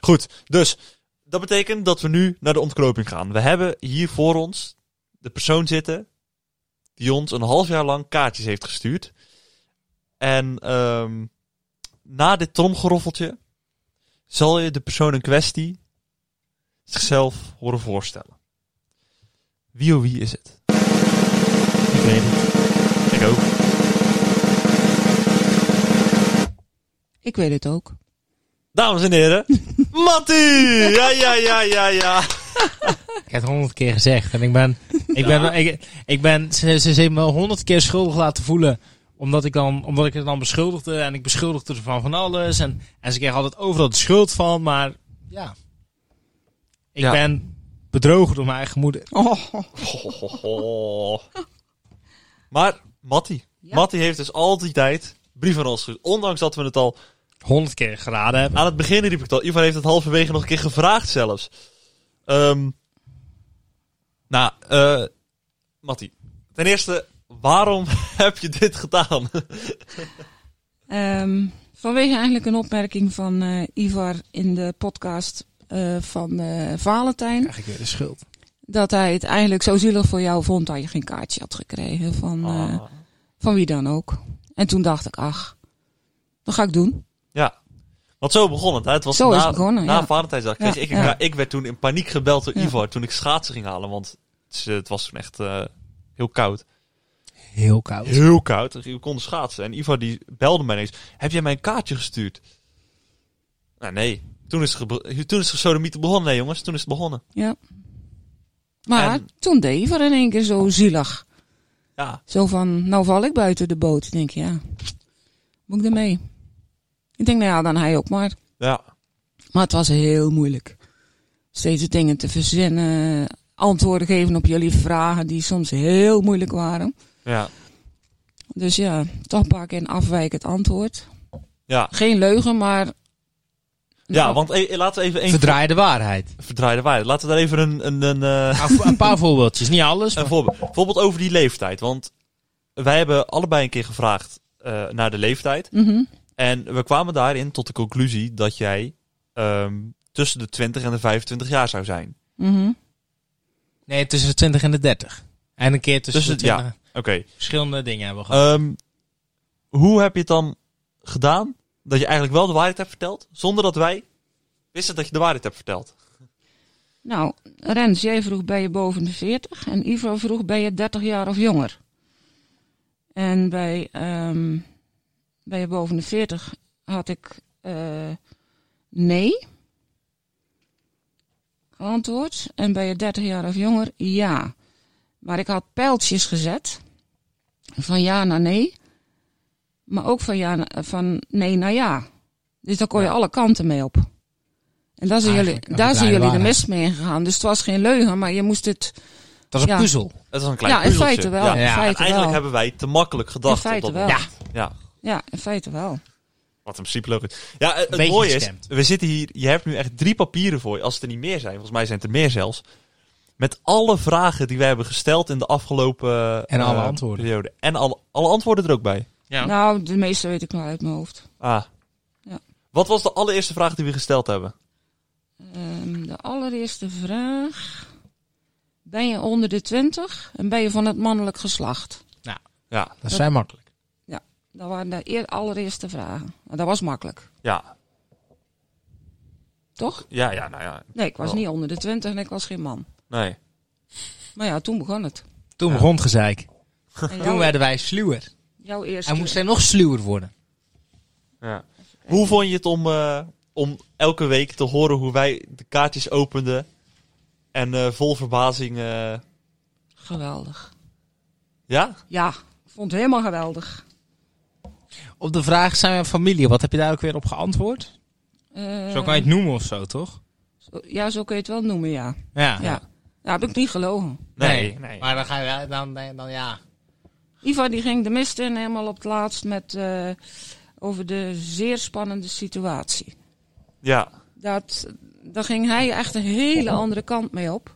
[SPEAKER 2] Goed, dus dat betekent dat we nu naar de ontknoping gaan. We hebben hier voor ons de persoon zitten die ons een half jaar lang kaartjes heeft gestuurd. En ehm, na dit tromgeroffeltje zal je de persoon in kwestie zichzelf horen voorstellen. Wie of wie is het?
[SPEAKER 1] Ik weet het.
[SPEAKER 2] Ik ook.
[SPEAKER 4] Ik weet het ook.
[SPEAKER 2] Dames en heren, Matty! Ja, ja, ja, ja, ja.
[SPEAKER 1] Ik heb het honderd keer gezegd. En ik ben, ik ben, ik, ik ben ze, ze ze heeft me honderd keer schuldig laten voelen. Omdat ik, dan, omdat ik het dan beschuldigde. En ik beschuldigde ze van van alles. En, en ze kreeg altijd overal de schuld van. Maar ja, ik
[SPEAKER 2] Ja.
[SPEAKER 1] ben bedrogen door mijn eigen moeder.
[SPEAKER 4] Oh.
[SPEAKER 2] Ho, ho, ho. Maar Matty.
[SPEAKER 4] Ja.
[SPEAKER 2] Matty heeft dus al die tijd brieven aan ons gestuurd. Ondanks dat we het al...
[SPEAKER 1] Honderd keer geraden hebben.
[SPEAKER 2] Aan het begin riep ik het al. Ivan heeft het halverwege nog een keer gevraagd zelfs. Ehm, nou, eh Matty. Ten eerste, waarom heb je dit gedaan?
[SPEAKER 4] Ehm, vanwege eigenlijk een opmerking van eh, Ivar in de podcast eh, van eh, Valentijn.
[SPEAKER 1] Krijg ik weer de schuld.
[SPEAKER 4] Dat hij het eigenlijk zo zielig voor jou vond dat je geen kaartje had gekregen van, eh,
[SPEAKER 2] Ah.
[SPEAKER 4] van wie dan ook. En toen dacht ik, ach, dat ga ik doen.
[SPEAKER 2] Ja. Want zo begon het. Hè? Het was
[SPEAKER 4] Zo
[SPEAKER 2] na,
[SPEAKER 4] is het begonnen,
[SPEAKER 2] na
[SPEAKER 4] ja.
[SPEAKER 2] Valentijnsdag. kreeg
[SPEAKER 4] Ja,
[SPEAKER 2] ik,
[SPEAKER 4] ja.
[SPEAKER 2] ja, ik werd toen in paniek gebeld door
[SPEAKER 4] Ja.
[SPEAKER 2] Ivar toen ik schaatsen ging halen. Want het, het was toen echt eh, heel koud.
[SPEAKER 1] Heel koud.
[SPEAKER 2] Heel koud. We konden schaatsen. En Ivar die belde mij ineens. Heb jij mij een kaartje gestuurd? Nou nee. Toen is het, gebe- toen is het gesodemieten begonnen. Nee jongens, toen is het begonnen.
[SPEAKER 4] Ja. Maar
[SPEAKER 2] En-
[SPEAKER 4] toen deed Ivar in één keer zo zielig.
[SPEAKER 2] Ja.
[SPEAKER 4] Zo van, nou val ik buiten de boot. Ik denk, ja, moet ik ermee? Ik denk, nou ja, dan hij ook maar.
[SPEAKER 2] Ja.
[SPEAKER 4] Maar het was heel moeilijk. Steeds dingen te verzinnen, antwoorden geven op jullie vragen die soms heel moeilijk waren.
[SPEAKER 2] Ja.
[SPEAKER 4] Dus ja, toch pakken en afwijkend antwoord.
[SPEAKER 2] Ja.
[SPEAKER 4] Geen leugen, maar. Nou.
[SPEAKER 2] Ja, want eh, laten we even een
[SPEAKER 1] Verdraaide waarheid.
[SPEAKER 2] verdraaide waarde. Laten we daar even een, een, een, eh,
[SPEAKER 1] Nou, voor- een paar voorbeeldjes, niet alles.
[SPEAKER 2] Een
[SPEAKER 1] maar-
[SPEAKER 2] voorbeeld. Bijvoorbeeld over die leeftijd. Want wij hebben allebei een keer gevraagd eh, naar de leeftijd.
[SPEAKER 4] Mhm.
[SPEAKER 2] En we kwamen daarin tot de conclusie dat jij ehm, tussen de 20 en de 25 jaar zou zijn.
[SPEAKER 4] mhm.
[SPEAKER 1] Nee, tussen de 20 en de 30. En een keer tussen Oh,
[SPEAKER 2] Tussen-
[SPEAKER 1] de 20.
[SPEAKER 2] Oké.
[SPEAKER 1] Verschillende dingen hebben we gehad.
[SPEAKER 2] Ehm, hoe heb je het dan gedaan dat je eigenlijk wel de waarheid hebt verteld, zonder dat wij wisten dat je de waarheid hebt verteld?
[SPEAKER 4] Nou, Rens, jij vroeg ben je boven de 40 en Ivo vroeg ben je 30 jaar of jonger. En bij, ehm ben je boven de 40 had ik eh, nee geantwoord en bij je 30 jaar of jonger ja. Maar ik had pijltjes gezet van ja naar nee, maar ook van, ja, na- van nee naar ja. Dus daar kon je alle kanten mee op. En daar zijn
[SPEAKER 1] Eigenlijk
[SPEAKER 4] jullie,
[SPEAKER 1] een
[SPEAKER 4] daar zijn
[SPEAKER 1] kleine
[SPEAKER 4] jullie de
[SPEAKER 1] waarheid.
[SPEAKER 4] mis mee ingegaan. Dus het was geen leugen, maar je moest het
[SPEAKER 1] dat is een
[SPEAKER 4] ja.
[SPEAKER 1] puzzel.
[SPEAKER 2] Het was een klein
[SPEAKER 4] Ja, in
[SPEAKER 2] puzzeltje.
[SPEAKER 4] feite wel,
[SPEAKER 2] Ja.
[SPEAKER 4] in
[SPEAKER 2] En
[SPEAKER 1] feite
[SPEAKER 2] eigenlijk
[SPEAKER 4] wel.
[SPEAKER 2] hebben wij te makkelijk gedacht.
[SPEAKER 4] In feite
[SPEAKER 2] op dat
[SPEAKER 4] wel.
[SPEAKER 2] moment. Ja.
[SPEAKER 4] Ja, in feite wel.
[SPEAKER 2] Wat in principe logisch. Ja, eh, het, het
[SPEAKER 1] beetje
[SPEAKER 2] mooie is,
[SPEAKER 1] gescamd.
[SPEAKER 2] we zitten hier, je hebt nu echt drie papieren voor je, als het er niet meer zijn. Volgens mij zijn het er meer zelfs. Met alle vragen die wij hebben gesteld in de afgelopen
[SPEAKER 1] En alle
[SPEAKER 2] eh,
[SPEAKER 1] antwoorden.
[SPEAKER 2] periode. En alle, alle antwoorden er ook bij.
[SPEAKER 1] Ja.
[SPEAKER 4] Nou, de meeste weet ik wel uit mijn hoofd.
[SPEAKER 2] Ah.
[SPEAKER 4] Ja.
[SPEAKER 2] Wat was de allereerste vraag die we gesteld hebben?
[SPEAKER 4] Ehm, de allereerste vraag Ben je onder de 20 en ben je van het mannelijk geslacht?
[SPEAKER 2] Ja,
[SPEAKER 1] Dat zijn makkelijk.
[SPEAKER 4] Dat waren de eer- allereerste vragen. Nou, dat was makkelijk,
[SPEAKER 2] ja,
[SPEAKER 4] toch?
[SPEAKER 2] ja, ja, nou ja.
[SPEAKER 4] Nee, ik was
[SPEAKER 1] Oh.
[SPEAKER 2] Wel.
[SPEAKER 4] niet onder de 20 en ik was geen man.
[SPEAKER 2] Nee.
[SPEAKER 4] Maar ja, toen begon het.
[SPEAKER 1] Toen begon gezeik.
[SPEAKER 4] En
[SPEAKER 1] Toen
[SPEAKER 4] jouw,
[SPEAKER 1] werden wij sluwer.
[SPEAKER 4] jouw eerste.
[SPEAKER 1] En moest hij nog sluwer worden.
[SPEAKER 2] Ja. Hoe vond je het om, eh, om elke week te horen hoe wij de kaartjes openden en eh, vol verbazing... eh,
[SPEAKER 4] Geweldig.
[SPEAKER 2] ja?
[SPEAKER 4] Ja, ik vond het helemaal geweldig.
[SPEAKER 1] Op de vraag zijn we familie, wat heb je daar ook weer op geantwoord?
[SPEAKER 4] Eh,
[SPEAKER 1] Zo kan je het noemen of zo, toch?
[SPEAKER 4] zo- Ja, zo kun je het wel noemen, ja.
[SPEAKER 1] Ja.
[SPEAKER 4] Ja, ja heb ik niet gelogen.
[SPEAKER 1] Nee. Maar dan ga je dan, dan, dan ja.
[SPEAKER 4] Ivan die ging de mist in helemaal op het laatst met, eh, over de zeer spannende situatie.
[SPEAKER 2] Ja.
[SPEAKER 4] Dat, daar ging hij echt een hele andere kant mee op.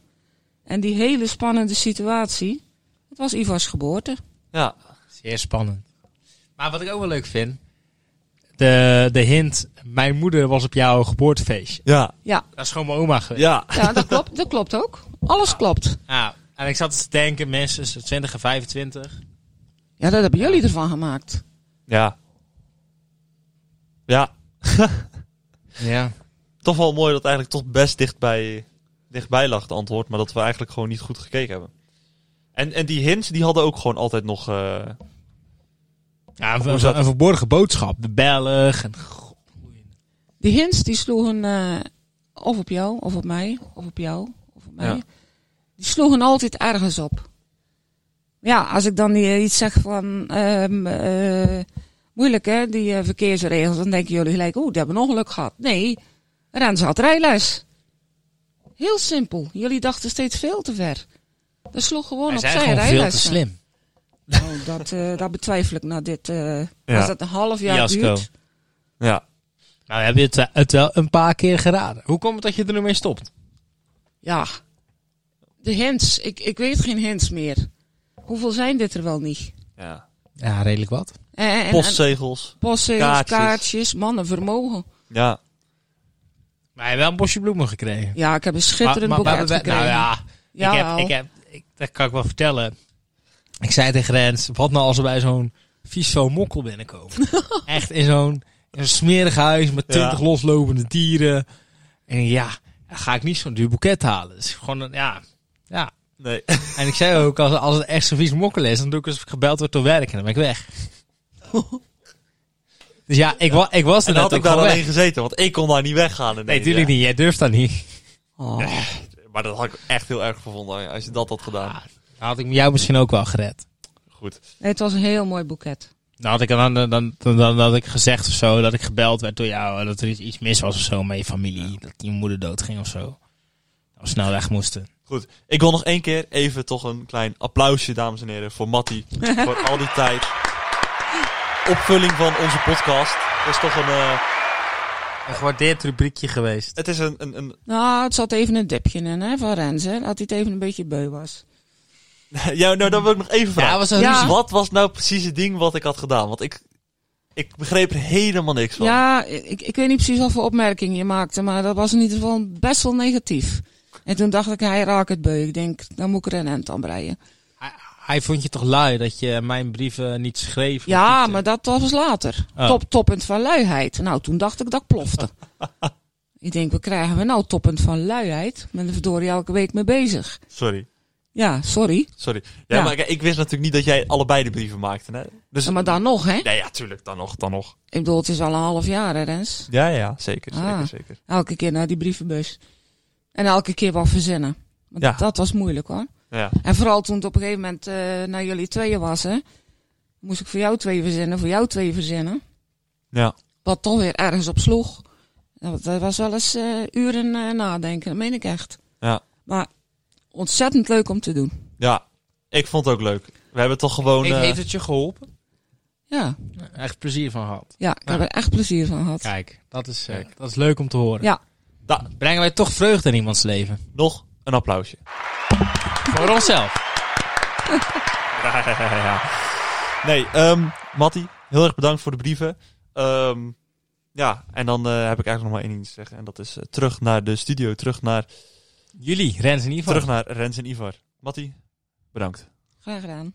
[SPEAKER 4] En die hele spannende situatie, dat was Ivar's geboorte.
[SPEAKER 2] Ja.
[SPEAKER 1] Zeer spannend. Maar wat ik ook wel leuk vind. De, de hint, mijn moeder was op jouw geboortefeestje.
[SPEAKER 2] Ja.
[SPEAKER 4] Ja,
[SPEAKER 1] Dat is gewoon mijn oma geweest.
[SPEAKER 2] Ja.
[SPEAKER 4] ja dat, klopt, dat klopt ook. Alles klopt.
[SPEAKER 1] Ja, En ik zat te denken, mensen, zo 20 en 25.
[SPEAKER 4] Ja, dat hebben jullie ervan gemaakt.
[SPEAKER 2] Ja. Ja.
[SPEAKER 1] Ja.
[SPEAKER 2] Toch wel mooi dat eigenlijk toch best dichtbij, dichtbij lag het antwoord, maar dat we eigenlijk gewoon niet goed gekeken hebben. En, en die hints, die hadden ook gewoon altijd nog... eh,
[SPEAKER 1] ja een,
[SPEAKER 2] Hoe zat-
[SPEAKER 1] een verborgen boodschap. De Belg. En, God,
[SPEAKER 4] Die hints die sloegen eh, of op jou, of op mij, of op jou, of op mij.
[SPEAKER 2] Ja.
[SPEAKER 4] Die sloegen altijd ergens op. Ja, als ik dan eh, iets zeg van ehm, eh, moeilijk hè, die eh, verkeersregels, dan denken jullie gelijk, oeh, die hebben een ongeluk gehad. Nee, Rens had rijles. Heel simpel. Jullie dachten steeds veel te ver. Dat sloeg gewoon
[SPEAKER 1] wij
[SPEAKER 4] op
[SPEAKER 1] zijn
[SPEAKER 4] zijn
[SPEAKER 1] gewoon veel te
[SPEAKER 4] rijles.
[SPEAKER 1] slim.
[SPEAKER 4] Nou, dat, eh, dat betwijfel ik na dit. eh Als dat een half jaar
[SPEAKER 1] Fiasco.
[SPEAKER 4] duurt.
[SPEAKER 2] ja.
[SPEAKER 1] Nou, we hebben het, eh, het wel een paar keer geraden. Hoe komt het dat je er nu mee stopt?
[SPEAKER 4] Ja. De hints. Ik, ik weet geen hints meer. Hoeveel zijn dit er wel niet?
[SPEAKER 2] ja.
[SPEAKER 1] Ja, redelijk wat.
[SPEAKER 4] En, en- en-
[SPEAKER 2] Postzegels.
[SPEAKER 4] postzegels,
[SPEAKER 2] kaartjes.
[SPEAKER 4] kaartjes. mannen, vermogen.
[SPEAKER 2] Ja.
[SPEAKER 1] Maar hij heeft wel een bosje bloemen gekregen.
[SPEAKER 4] Ja, ik heb een schitterend boeket
[SPEAKER 1] we-
[SPEAKER 4] gekregen.
[SPEAKER 1] Nou ja, ik heb,
[SPEAKER 4] Jawel.
[SPEAKER 1] ik heb, ik, dat kan ik wel vertellen. Ik zei tegen Rens, wat nou als er bij zo'n vies zo'n mokkel binnenkomen? Echt in zo'n in zo'n smerig huis met
[SPEAKER 2] Ja.
[SPEAKER 1] twintig loslopende dieren. En ja, dan ga ik niet zo'n duur boeket halen. Dus gewoon, een- ja, ja.
[SPEAKER 2] Nee.
[SPEAKER 1] En ik zei ook, als, als het echt zo'n vies mokkel is, dan doe ik alsof ik gebeld word door werk en dan ben ik weg. dus ja, ik, wa, ik was er
[SPEAKER 2] En
[SPEAKER 1] net
[SPEAKER 2] dan had
[SPEAKER 1] ook
[SPEAKER 2] ik daar
[SPEAKER 1] gewoon
[SPEAKER 2] alleen
[SPEAKER 1] weg.
[SPEAKER 2] gezeten, want ik kon daar niet weggaan. ineens,
[SPEAKER 1] Nee, tuurlijk
[SPEAKER 2] ja.
[SPEAKER 1] niet. Jij durft dat niet.
[SPEAKER 4] Oh.
[SPEAKER 2] Maar dat had ik echt heel erg gevonden als je dat had gedaan.
[SPEAKER 1] Ah, dan had ik jou misschien ook wel gered.
[SPEAKER 2] Goed.
[SPEAKER 4] Nee, het was een heel mooi boeket.
[SPEAKER 1] Dan had ik, dan, dan, dan, dan, dan had ik gezegd of zo dat ik gebeld werd door jou. en Dat er iets, iets mis was of zo met je familie. Dat je moeder doodging of zo. Dat we snel weg moesten.
[SPEAKER 2] Goed. Ik wil nog één keer even toch een klein applausje, dames en heren, voor Matty. voor al die tijd. Opvulling van onze podcast. Het is toch een, eh,
[SPEAKER 1] Een gewaardeerd rubriekje geweest.
[SPEAKER 2] het is een, een, een
[SPEAKER 4] Nou, het zat even een dipje in hè, van Rens. Hè, dat hij het even een beetje beu was.
[SPEAKER 2] Ja, nou, dan wil ik nog even
[SPEAKER 1] Ja,
[SPEAKER 2] vragen.
[SPEAKER 1] was een
[SPEAKER 4] Ja.
[SPEAKER 1] ruzie.
[SPEAKER 2] Wat was nou precies het ding wat ik had gedaan? Want ik, ik begreep er helemaal niks
[SPEAKER 1] Oh.
[SPEAKER 2] van.
[SPEAKER 4] Ja, ik, ik weet niet precies wat voor opmerking je maakte, maar dat was in ieder geval best wel negatief. En toen dacht ik, hij raakt het beu. Ik denk, dan moet ik er een end aan breien.
[SPEAKER 1] Hij, hij vond je toch lui dat je mijn brieven niet schreef?
[SPEAKER 4] Ja,
[SPEAKER 1] Niet, eh,
[SPEAKER 4] maar dat was later.
[SPEAKER 1] Oh.
[SPEAKER 4] Top, toppunt van luiheid. Nou, toen dacht ik dat ik plofte. ik denk, wat krijgen we nou toppunt van luiheid? Ik ben er verdorie elke week mee bezig.
[SPEAKER 2] Sorry.
[SPEAKER 4] Ja, sorry.
[SPEAKER 2] Sorry. Ja,
[SPEAKER 4] Ja.
[SPEAKER 2] maar ik, ik wist natuurlijk niet dat jij allebei de brieven maakte. Hè? Dus,
[SPEAKER 4] maar dan nog, hè?
[SPEAKER 2] Nee, ja, tuurlijk. Dan nog, dan nog.
[SPEAKER 4] Ik bedoel, het is al een half jaar, hè, Rens?
[SPEAKER 2] Ja, ja, zeker. Zeker,
[SPEAKER 4] Ah.
[SPEAKER 2] zeker.
[SPEAKER 4] Elke keer naar die brievenbus. En elke keer wat verzinnen. Want
[SPEAKER 2] Ja.
[SPEAKER 4] dat was moeilijk, hoor.
[SPEAKER 2] Ja.
[SPEAKER 4] En vooral toen het op een gegeven moment eh, naar jullie tweeën was, hè. Moest ik voor jou twee verzinnen, voor jou twee verzinnen.
[SPEAKER 2] Ja.
[SPEAKER 4] Wat toch weer ergens op sloeg. Dat dat was wel eens eh, uren eh, nadenken, dat meen ik echt.
[SPEAKER 2] Ja.
[SPEAKER 4] Maar ontzettend leuk om te doen.
[SPEAKER 2] Ja. Ik vond het ook leuk. We hebben toch gewoon...
[SPEAKER 1] ik
[SPEAKER 2] eh,
[SPEAKER 1] heeft het je geholpen?
[SPEAKER 4] Ja,
[SPEAKER 1] Echt plezier van gehad.
[SPEAKER 4] ja ik heb
[SPEAKER 1] Ja.
[SPEAKER 4] er echt plezier van gehad.
[SPEAKER 1] Kijk, dat is, eh, dat is leuk om te horen.
[SPEAKER 4] Ja.
[SPEAKER 2] da-
[SPEAKER 1] Brengen wij toch vreugde in iemands leven?
[SPEAKER 2] nog een applausje.
[SPEAKER 1] Voor onszelf.
[SPEAKER 2] Ja, ja, ja, ja. Nee, ehm Matty, heel erg bedankt voor de brieven. Ehm, ja, en dan eh, heb ik eigenlijk nog maar één ding te zeggen. En dat is eh, terug naar de studio, terug naar
[SPEAKER 1] Jullie, Rens in ieder geval.
[SPEAKER 5] Terug naar Rens en Ivar. Matty, bedankt.
[SPEAKER 4] Graag gedaan.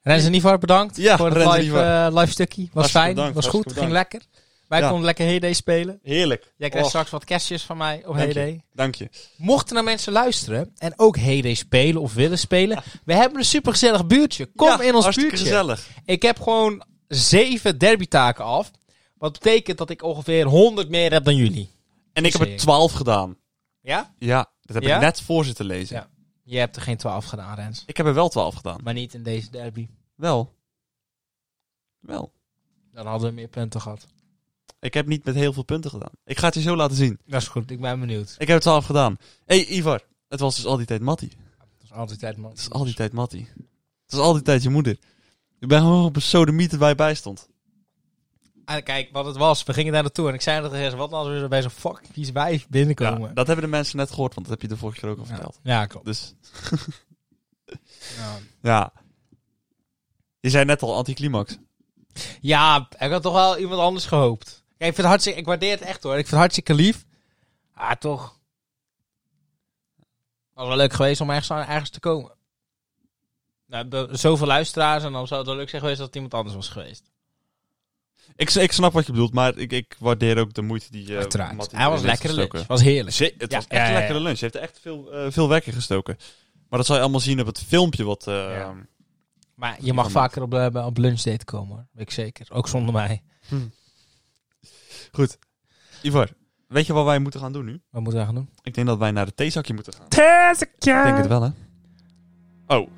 [SPEAKER 1] Rens en Ivar, bedankt
[SPEAKER 5] Ja,
[SPEAKER 1] voor het
[SPEAKER 5] Rens en
[SPEAKER 1] live,
[SPEAKER 5] Ivar.
[SPEAKER 1] eh, live stukje. Was
[SPEAKER 2] Hartstikke
[SPEAKER 1] fijn,
[SPEAKER 2] bedankt,
[SPEAKER 1] was goed,
[SPEAKER 2] hartstikke
[SPEAKER 1] ging lekker. Wij
[SPEAKER 2] Ja.
[SPEAKER 1] konden lekker Heyday spelen.
[SPEAKER 2] Heerlijk.
[SPEAKER 1] Jij krijgt
[SPEAKER 2] Och,
[SPEAKER 1] straks wat kerstjes van mij op
[SPEAKER 2] Dank je.
[SPEAKER 1] Heyday.
[SPEAKER 2] Dank je.
[SPEAKER 1] Mochten er mensen luisteren en ook Heyday spelen of willen spelen, we hebben een supergezellig buurtje. Kom
[SPEAKER 5] Ja,
[SPEAKER 1] in ons
[SPEAKER 5] hartstikke
[SPEAKER 1] buurtje.
[SPEAKER 5] gezellig.
[SPEAKER 1] Ik heb gewoon zeven derbytaken af. Wat betekent dat ik ongeveer 100 meer heb dan jullie.
[SPEAKER 2] En ik heb
[SPEAKER 1] Zeker.
[SPEAKER 2] er 12 gedaan.
[SPEAKER 1] Ja?
[SPEAKER 2] Ja, dat heb
[SPEAKER 1] Ja?
[SPEAKER 2] ik net voor zitten lezen.
[SPEAKER 1] Ja. Je hebt er geen 12 gedaan, Rens.
[SPEAKER 2] Ik heb er wel 12 gedaan.
[SPEAKER 1] Maar niet in deze derby.
[SPEAKER 2] Wel. Wel.
[SPEAKER 1] Dan hadden we meer punten gehad.
[SPEAKER 2] Ik heb niet met heel veel punten gedaan. Ik ga het je zo laten zien.
[SPEAKER 1] Dat is goed, ik ben benieuwd.
[SPEAKER 2] Ik heb er 12 gedaan. hey, Ivar. Het was dus al die tijd Mattie.
[SPEAKER 1] Dat is altijd tijd, man.
[SPEAKER 2] Het is al die tijd Mattie. Het is al die tijd je moeder. Ik ben gewoon op een sodemiet erbij bij stond.
[SPEAKER 1] En Ah, kijk, wat het was, we gingen daar naartoe en ik zei dat er is, wat als we er bij zo'n fucking vies wijf
[SPEAKER 2] Ja,
[SPEAKER 1] binnenkomen?
[SPEAKER 2] dat hebben de mensen net gehoord, want dat heb je de vorige keer ook al verteld.
[SPEAKER 1] Ja, klopt.
[SPEAKER 2] Dus
[SPEAKER 1] Ja.
[SPEAKER 2] ja. Je zei net al anticlimax.
[SPEAKER 1] Ja, ik had toch wel iemand anders gehoopt. Kijk, ik, vind het hartstikke, ik waardeer het echt hoor. Ik vind het hartstikke lief. Ah, toch. Was wel leuk geweest om ergens, aan- ergens te komen. Nou, de- zoveel luisteraars en dan zou het wel leuk zijn geweest dat het iemand anders was geweest.
[SPEAKER 2] Ik, ik snap wat je bedoelt, maar ik, ik waardeer ook de moeite die je.
[SPEAKER 1] Uiteraard.
[SPEAKER 2] Mattie
[SPEAKER 1] Hij was
[SPEAKER 2] erin heeft
[SPEAKER 1] lekker lunch.
[SPEAKER 2] gestoken.
[SPEAKER 1] was heerlijk.
[SPEAKER 2] Ze- het
[SPEAKER 1] Ja,
[SPEAKER 2] was echt
[SPEAKER 1] ja,
[SPEAKER 2] een
[SPEAKER 1] ja.
[SPEAKER 2] lekkere lunch. Ze heeft er echt veel, eh, veel werk in gestoken. Maar dat zal je allemaal zien op het filmpje wat... eh,
[SPEAKER 1] Ja. Maar je mag vaker op, eh, op lunchdate komen hoor. Weet ik zeker. Ook zonder mij.
[SPEAKER 2] Ivar, weet je wat wij moeten gaan doen nu?
[SPEAKER 1] Wat moeten we gaan doen?
[SPEAKER 2] Ik denk dat wij naar het theezakje moeten gaan. Ik denk het
[SPEAKER 1] Tessakje!
[SPEAKER 2] wel, hè? Oh,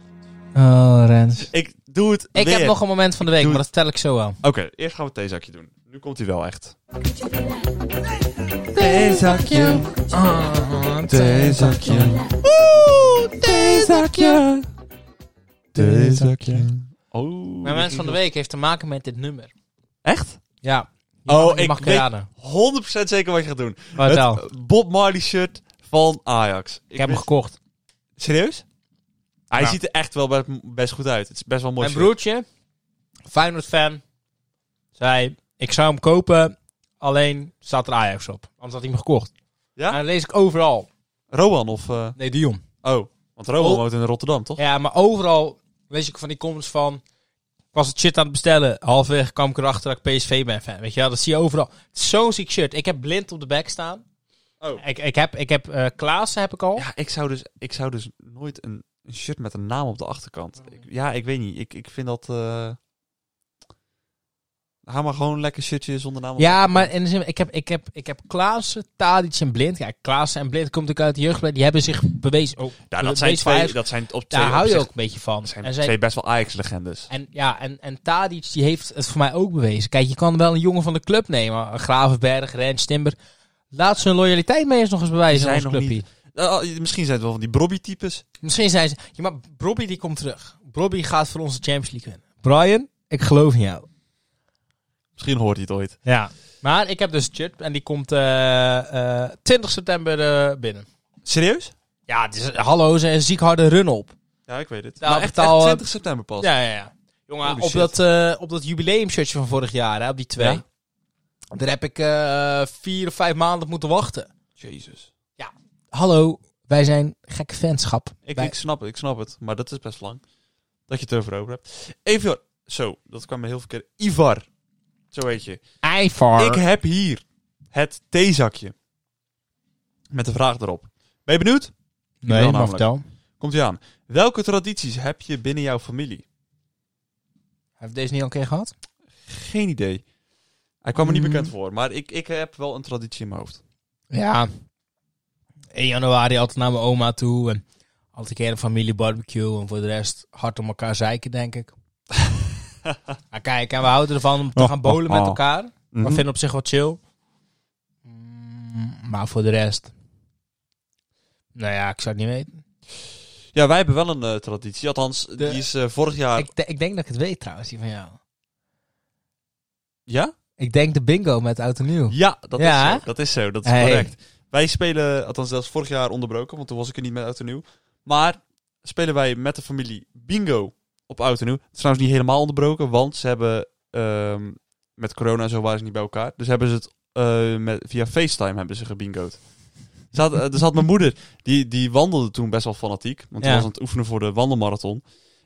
[SPEAKER 1] Oh, Rens.
[SPEAKER 2] ik doe het
[SPEAKER 1] Ik
[SPEAKER 2] weer.
[SPEAKER 1] heb nog een moment van de week,
[SPEAKER 2] Doe
[SPEAKER 1] maar dat vertel ik zo aan.
[SPEAKER 2] Oké, eerst gaan we het theezakje doen. Nu komt hij wel echt.
[SPEAKER 1] Theezakje. Ah,
[SPEAKER 2] Theezakje.
[SPEAKER 1] theezakje.
[SPEAKER 2] Theezakje. Oh.
[SPEAKER 1] Mijn mens van de week heeft te maken met dit nummer.
[SPEAKER 2] Echt?
[SPEAKER 1] Ja. Je
[SPEAKER 2] Oh,
[SPEAKER 1] mag, je
[SPEAKER 2] ik
[SPEAKER 1] mag
[SPEAKER 2] weet-
[SPEAKER 1] raden.
[SPEAKER 2] 100% zeker wat je gaat doen.
[SPEAKER 1] Vertel.
[SPEAKER 2] Het Oh, eh, Bob Marley shirt van Ajax.
[SPEAKER 1] Ik heb hem
[SPEAKER 2] wist-
[SPEAKER 1] gekocht.
[SPEAKER 2] Serieus? Hij
[SPEAKER 1] Ja.
[SPEAKER 2] ziet er echt wel be- best goed uit. Het is best wel een mooi
[SPEAKER 1] Mijn broertje, Feyenoord fan, zei ik zou hem kopen, alleen staat er Ajax op. Anders had hij hem gekocht.
[SPEAKER 2] Ja?
[SPEAKER 1] En dat lees ik overal.
[SPEAKER 2] shirt. Rowan of... eh,
[SPEAKER 1] Nee, Dion.
[SPEAKER 2] Oh, want Roman
[SPEAKER 1] Oh.
[SPEAKER 2] woont in Rotterdam, toch?
[SPEAKER 1] Ja, maar overal lees ik van die comments van... Ik was het shit aan het bestellen. Halverwege kwam ik erachter dat ik PSV ben fan. Weet je wel, dat zie je overal. Het is Zo'n ziek shirt. Ik heb blind op de back staan.
[SPEAKER 2] Oh.
[SPEAKER 1] Ik, ik heb, ik heb eh Klaassen heb ik al.
[SPEAKER 2] Ja, ik zou dus, ik zou dus nooit een, een shirt met een naam op de achterkant.
[SPEAKER 1] Oh.
[SPEAKER 2] Ik- ja, ik weet niet. Ik, ik vind dat... eh Ga maar gewoon lekker shirtje zonder naam. op de
[SPEAKER 1] Ja, maar
[SPEAKER 2] achterkant.
[SPEAKER 1] in de zin, ik, heb, ik, heb, ik heb Klaassen, Tadic en Blind. Ja, Klaassen en Blind komt natuurlijk uit de jeugd. Die hebben zich bewezen. Oh,
[SPEAKER 2] Ja,
[SPEAKER 1] de-
[SPEAKER 2] dat zijn
[SPEAKER 1] deze vijf-
[SPEAKER 2] twee... Dat zijn op twee
[SPEAKER 1] daar hou je
[SPEAKER 2] opzicht-
[SPEAKER 1] ook een beetje van.
[SPEAKER 2] dat zijn
[SPEAKER 1] en, zij-
[SPEAKER 2] twee best wel Ajax-legendes.
[SPEAKER 1] en, ja, en, en Tadic die heeft het voor mij ook bewezen. Kijk, je kan wel een jongen van de club nemen. Gravenberg, Rens, Timber. Laat ze hun loyaliteit mee eens nog eens bewijzen aan ons
[SPEAKER 2] zijn nog
[SPEAKER 1] clubje.
[SPEAKER 2] Eh, oh, misschien zijn het wel van die Brobby-types.
[SPEAKER 1] Misschien zijn ze... Ja, maar Bobby die komt terug. Bobby gaat voor onze Champions League winnen. Brian, ik geloof in jou.
[SPEAKER 2] Misschien hoort hij het ooit.
[SPEAKER 1] Ja. Maar ik heb dus Chip en die komt eh, eh, 20 september eh, binnen.
[SPEAKER 2] Serieus?
[SPEAKER 1] Ja, het is, hallo, ze een ziek harde run op.
[SPEAKER 2] Ja, ik weet het.
[SPEAKER 1] Nou,
[SPEAKER 2] maar echt,
[SPEAKER 1] betaal, eh,
[SPEAKER 2] echt 20 september pas.
[SPEAKER 1] Ja, ja, ja. Jongen,
[SPEAKER 2] Holy
[SPEAKER 1] op
[SPEAKER 2] shit.
[SPEAKER 1] dat, eh op dat jubileumshirtje van vorig jaar, hè, op die twee.
[SPEAKER 2] Ja.
[SPEAKER 1] Daar heb ik eh, vier of vijf maanden op moeten wachten.
[SPEAKER 2] Jezus.
[SPEAKER 1] Hallo, wij zijn gekke fanschap.
[SPEAKER 2] Ik,
[SPEAKER 1] Wij-
[SPEAKER 2] ik snap het, ik snap het. Maar dat is best lang. Dat je het erover over hebt. Even, zo, dat kwam me heel verkeerd. Ivar. Zo heet je.
[SPEAKER 1] Ivar.
[SPEAKER 2] Ik heb hier het theezakje. Met de vraag erop. Ben je benieuwd? wel
[SPEAKER 1] nee, maar
[SPEAKER 2] namelijk.
[SPEAKER 1] vertel.
[SPEAKER 2] Komt ie aan. Welke tradities heb je binnen jouw familie?
[SPEAKER 1] Heeft deze niet al een keer gehad?
[SPEAKER 2] Geen idee. Hij kwam me niet
[SPEAKER 1] Mm.
[SPEAKER 2] bekend voor, maar ik, ik heb wel een traditie in mijn hoofd.
[SPEAKER 1] Ja. 1 januari altijd naar mijn oma toe. En altijd een keer een familiebarbecue. En voor de rest hard om elkaar zeiken, denk ik. Maar kijk, en we houden ervan om te
[SPEAKER 2] Oh,
[SPEAKER 1] gaan bowlen met elkaar. We
[SPEAKER 2] Mhm.
[SPEAKER 1] vinden op zich wel chill. Mm, Maar voor de rest... Nou ja, ik zou het niet weten.
[SPEAKER 2] Ja, wij hebben wel een eh, traditie. Althans,
[SPEAKER 1] De-
[SPEAKER 2] die is eh, vorig jaar...
[SPEAKER 1] Ik, de- ik denk dat ik het weet trouwens, die van jou.
[SPEAKER 2] Ja?
[SPEAKER 1] Ik denk de bingo met Oud en Nieuw.
[SPEAKER 2] Ja, dat,
[SPEAKER 1] Ja,
[SPEAKER 2] Is
[SPEAKER 1] hè?
[SPEAKER 2] zo, dat is zo. Dat is
[SPEAKER 1] Hey.
[SPEAKER 2] correct. Wij spelen, althans dat is vorig jaar onderbroken, want toen was ik er niet met Oud en Nieuw. Maar spelen wij met de familie Bingo op Oud en Nieuw. Het is trouwens niet helemaal onderbroken, want ze hebben ehm, met corona en zo waren ze niet bij elkaar. Dus hebben ze het eh, met, via FaceTime hebben ze gebingoed. Zat, eh, er zat mijn moeder, die, die wandelde toen best wel fanatiek. Want die
[SPEAKER 1] Ja.
[SPEAKER 2] was aan het oefenen voor de wandelmarathon.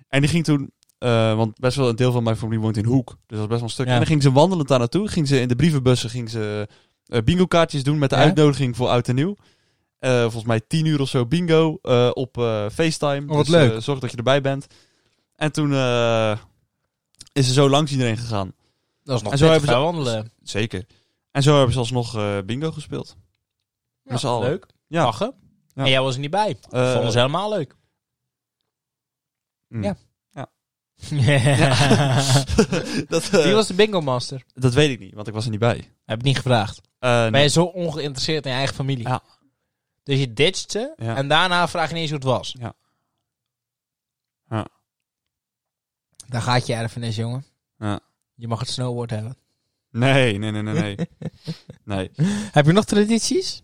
[SPEAKER 2] En die ging toen, eh, want best wel een deel van mijn familie woont in Hoek. Dus dat was best wel een stuk.
[SPEAKER 1] Ja.
[SPEAKER 2] En dan ging ze wandelend daar naartoe. Ging ze in de brievenbussen ging ze, eh, bingo-kaartjes doen met de
[SPEAKER 1] Ja?
[SPEAKER 2] uitnodiging voor Oud en Nieuw. Eh, volgens mij tien uur of zo bingo eh, op eh, FaceTime.
[SPEAKER 1] Oh, wat
[SPEAKER 2] Dus, eh,
[SPEAKER 1] leuk.
[SPEAKER 2] zorg dat je erbij bent. En toen eh, is ze zo langs iedereen gegaan.
[SPEAKER 1] Dat is nog
[SPEAKER 2] En zo
[SPEAKER 1] prettig
[SPEAKER 2] hebben ze-
[SPEAKER 1] gaan wandelen.
[SPEAKER 2] Zeker. En zo hebben ze alsnog eh, bingo gespeeld. Met z'n allen.
[SPEAKER 1] Leuk.
[SPEAKER 2] Ja.
[SPEAKER 1] Lachen.
[SPEAKER 2] Ja.
[SPEAKER 1] En jij was er niet bij.
[SPEAKER 2] Eh,
[SPEAKER 1] Vonden ze helemaal leuk.
[SPEAKER 2] Mm.
[SPEAKER 1] Ja.
[SPEAKER 2] Ja. dat, eh,
[SPEAKER 1] Die was de bingo master.
[SPEAKER 2] dat weet ik niet, want ik was er niet bij.
[SPEAKER 1] Heb ik niet gevraagd.
[SPEAKER 2] Eh,
[SPEAKER 1] Ben
[SPEAKER 2] nee.
[SPEAKER 1] je zo ongeïnteresseerd in je eigen familie?
[SPEAKER 2] Ja.
[SPEAKER 1] Dus je ditcht ze
[SPEAKER 2] Ja.
[SPEAKER 1] en daarna vraag je ineens hoe het was.
[SPEAKER 2] Ja. Ja.
[SPEAKER 1] Daar gaat je erfenis, jongen.
[SPEAKER 2] Ja.
[SPEAKER 1] Je mag het snowboard hebben.
[SPEAKER 2] nee, nee, nee, nee, nee. nee.
[SPEAKER 1] Heb je nog tradities?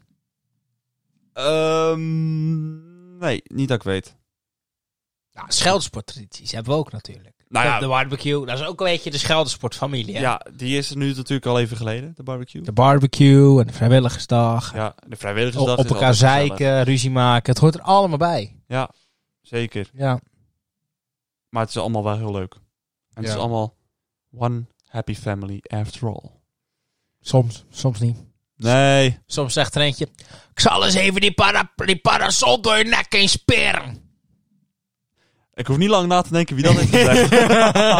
[SPEAKER 2] Ehm, nee, niet dat ik weet.
[SPEAKER 1] Ja, scheldsporttradities hebben we ook natuurlijk.
[SPEAKER 2] Nou ja.
[SPEAKER 1] de barbecue, dat is ook een beetje de scheldersportfamilie.
[SPEAKER 2] Ja.
[SPEAKER 1] hè?
[SPEAKER 2] die is nu natuurlijk al even geleden, de barbecue.
[SPEAKER 1] De barbecue en de vrijwilligersdag.
[SPEAKER 2] Ja, de
[SPEAKER 1] op
[SPEAKER 2] vrijwilligersdag.
[SPEAKER 1] op
[SPEAKER 2] is
[SPEAKER 1] elkaar
[SPEAKER 2] altijd gezellig.
[SPEAKER 1] zeiken, ruzie maken. Het hoort er allemaal bij.
[SPEAKER 2] Ja, zeker.
[SPEAKER 1] Ja.
[SPEAKER 2] Maar het is allemaal wel heel leuk. En het
[SPEAKER 1] Ja.
[SPEAKER 2] is allemaal one happy family after all.
[SPEAKER 1] Soms, soms niet.
[SPEAKER 2] Nee.
[SPEAKER 1] Soms zegt er eentje: Ik zal eens even die, para, die parasol door je nek heen speren.
[SPEAKER 2] Ik hoef niet lang na te denken wie dat heeft gezegd.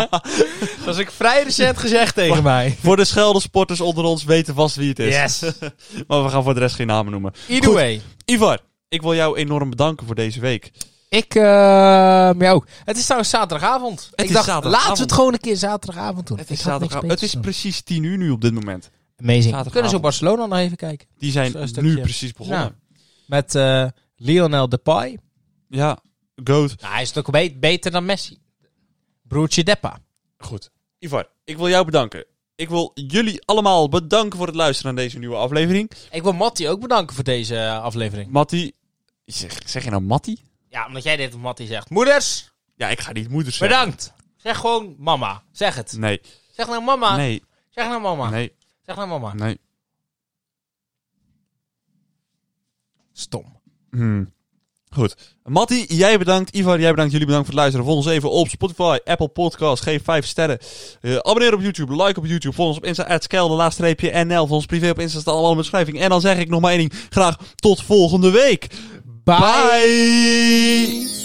[SPEAKER 1] dat is ik vrij recent gezegd tegen mij.
[SPEAKER 2] Voor de Scheldensporters onder ons weten vast wie het is.
[SPEAKER 1] Yes.
[SPEAKER 2] Maar we gaan voor de rest geen namen noemen.
[SPEAKER 1] Either
[SPEAKER 2] Goed.
[SPEAKER 1] way.
[SPEAKER 2] Ivar, ik wil jou enorm bedanken voor deze week.
[SPEAKER 1] Ik, eh ja ook. Het is trouwens zaterdagavond. ik
[SPEAKER 2] is
[SPEAKER 1] dacht,
[SPEAKER 2] zaterdagavond.
[SPEAKER 1] laten we het gewoon een keer zaterdagavond doen.
[SPEAKER 2] Het is,
[SPEAKER 1] Ik had niks
[SPEAKER 2] zaterdag, het
[SPEAKER 1] beters te
[SPEAKER 2] is
[SPEAKER 1] doen.
[SPEAKER 2] precies 10 uur nu op dit moment.
[SPEAKER 1] Amazing. We
[SPEAKER 2] zaterdagavond.
[SPEAKER 1] kunnen zo Barcelona nog even kijken.
[SPEAKER 2] Die
[SPEAKER 1] Zo
[SPEAKER 2] zijn
[SPEAKER 1] een stukje.
[SPEAKER 2] nu precies begonnen.
[SPEAKER 1] Nou. Met eh, Lionel Depay.
[SPEAKER 2] Ja, goat.
[SPEAKER 1] Nou, hij is toch be- beter dan Messi. Broertje Deppa.
[SPEAKER 2] Goed. Ivar, ik wil jou bedanken. Ik wil jullie allemaal bedanken voor het luisteren naar deze nieuwe aflevering.
[SPEAKER 1] Ik wil Matti ook bedanken voor deze eh, aflevering.
[SPEAKER 2] Mattie, zeg, zeg je nou Mattie?
[SPEAKER 1] Ja, omdat jij dit op Matti zegt. Moeders,
[SPEAKER 2] Ja, ik ga niet moeder zeggen.
[SPEAKER 1] bedankt. Zeg gewoon mama. Zeg het.
[SPEAKER 2] Nee,
[SPEAKER 1] Zeg nou mama.
[SPEAKER 2] nee,
[SPEAKER 1] Zeg nou mama.
[SPEAKER 2] nee,
[SPEAKER 1] Zeg nou mama.
[SPEAKER 2] nee.
[SPEAKER 1] Stom.
[SPEAKER 2] Hmm. Goed. Matti, jij bedankt. Ivar, jij bedankt. Jullie bedankt voor het luisteren. Volg ons even op Spotify, Apple Podcasts. Geef 5 sterren. Eh, abonneer op YouTube. Like op YouTube. Volg ons op Insta. Skel, de laagstreepje NL. Volg ons privé op Insta. Staat allemaal in de beschrijving. En dan zeg ik nog maar één ding. Graag tot volgende week. Bye.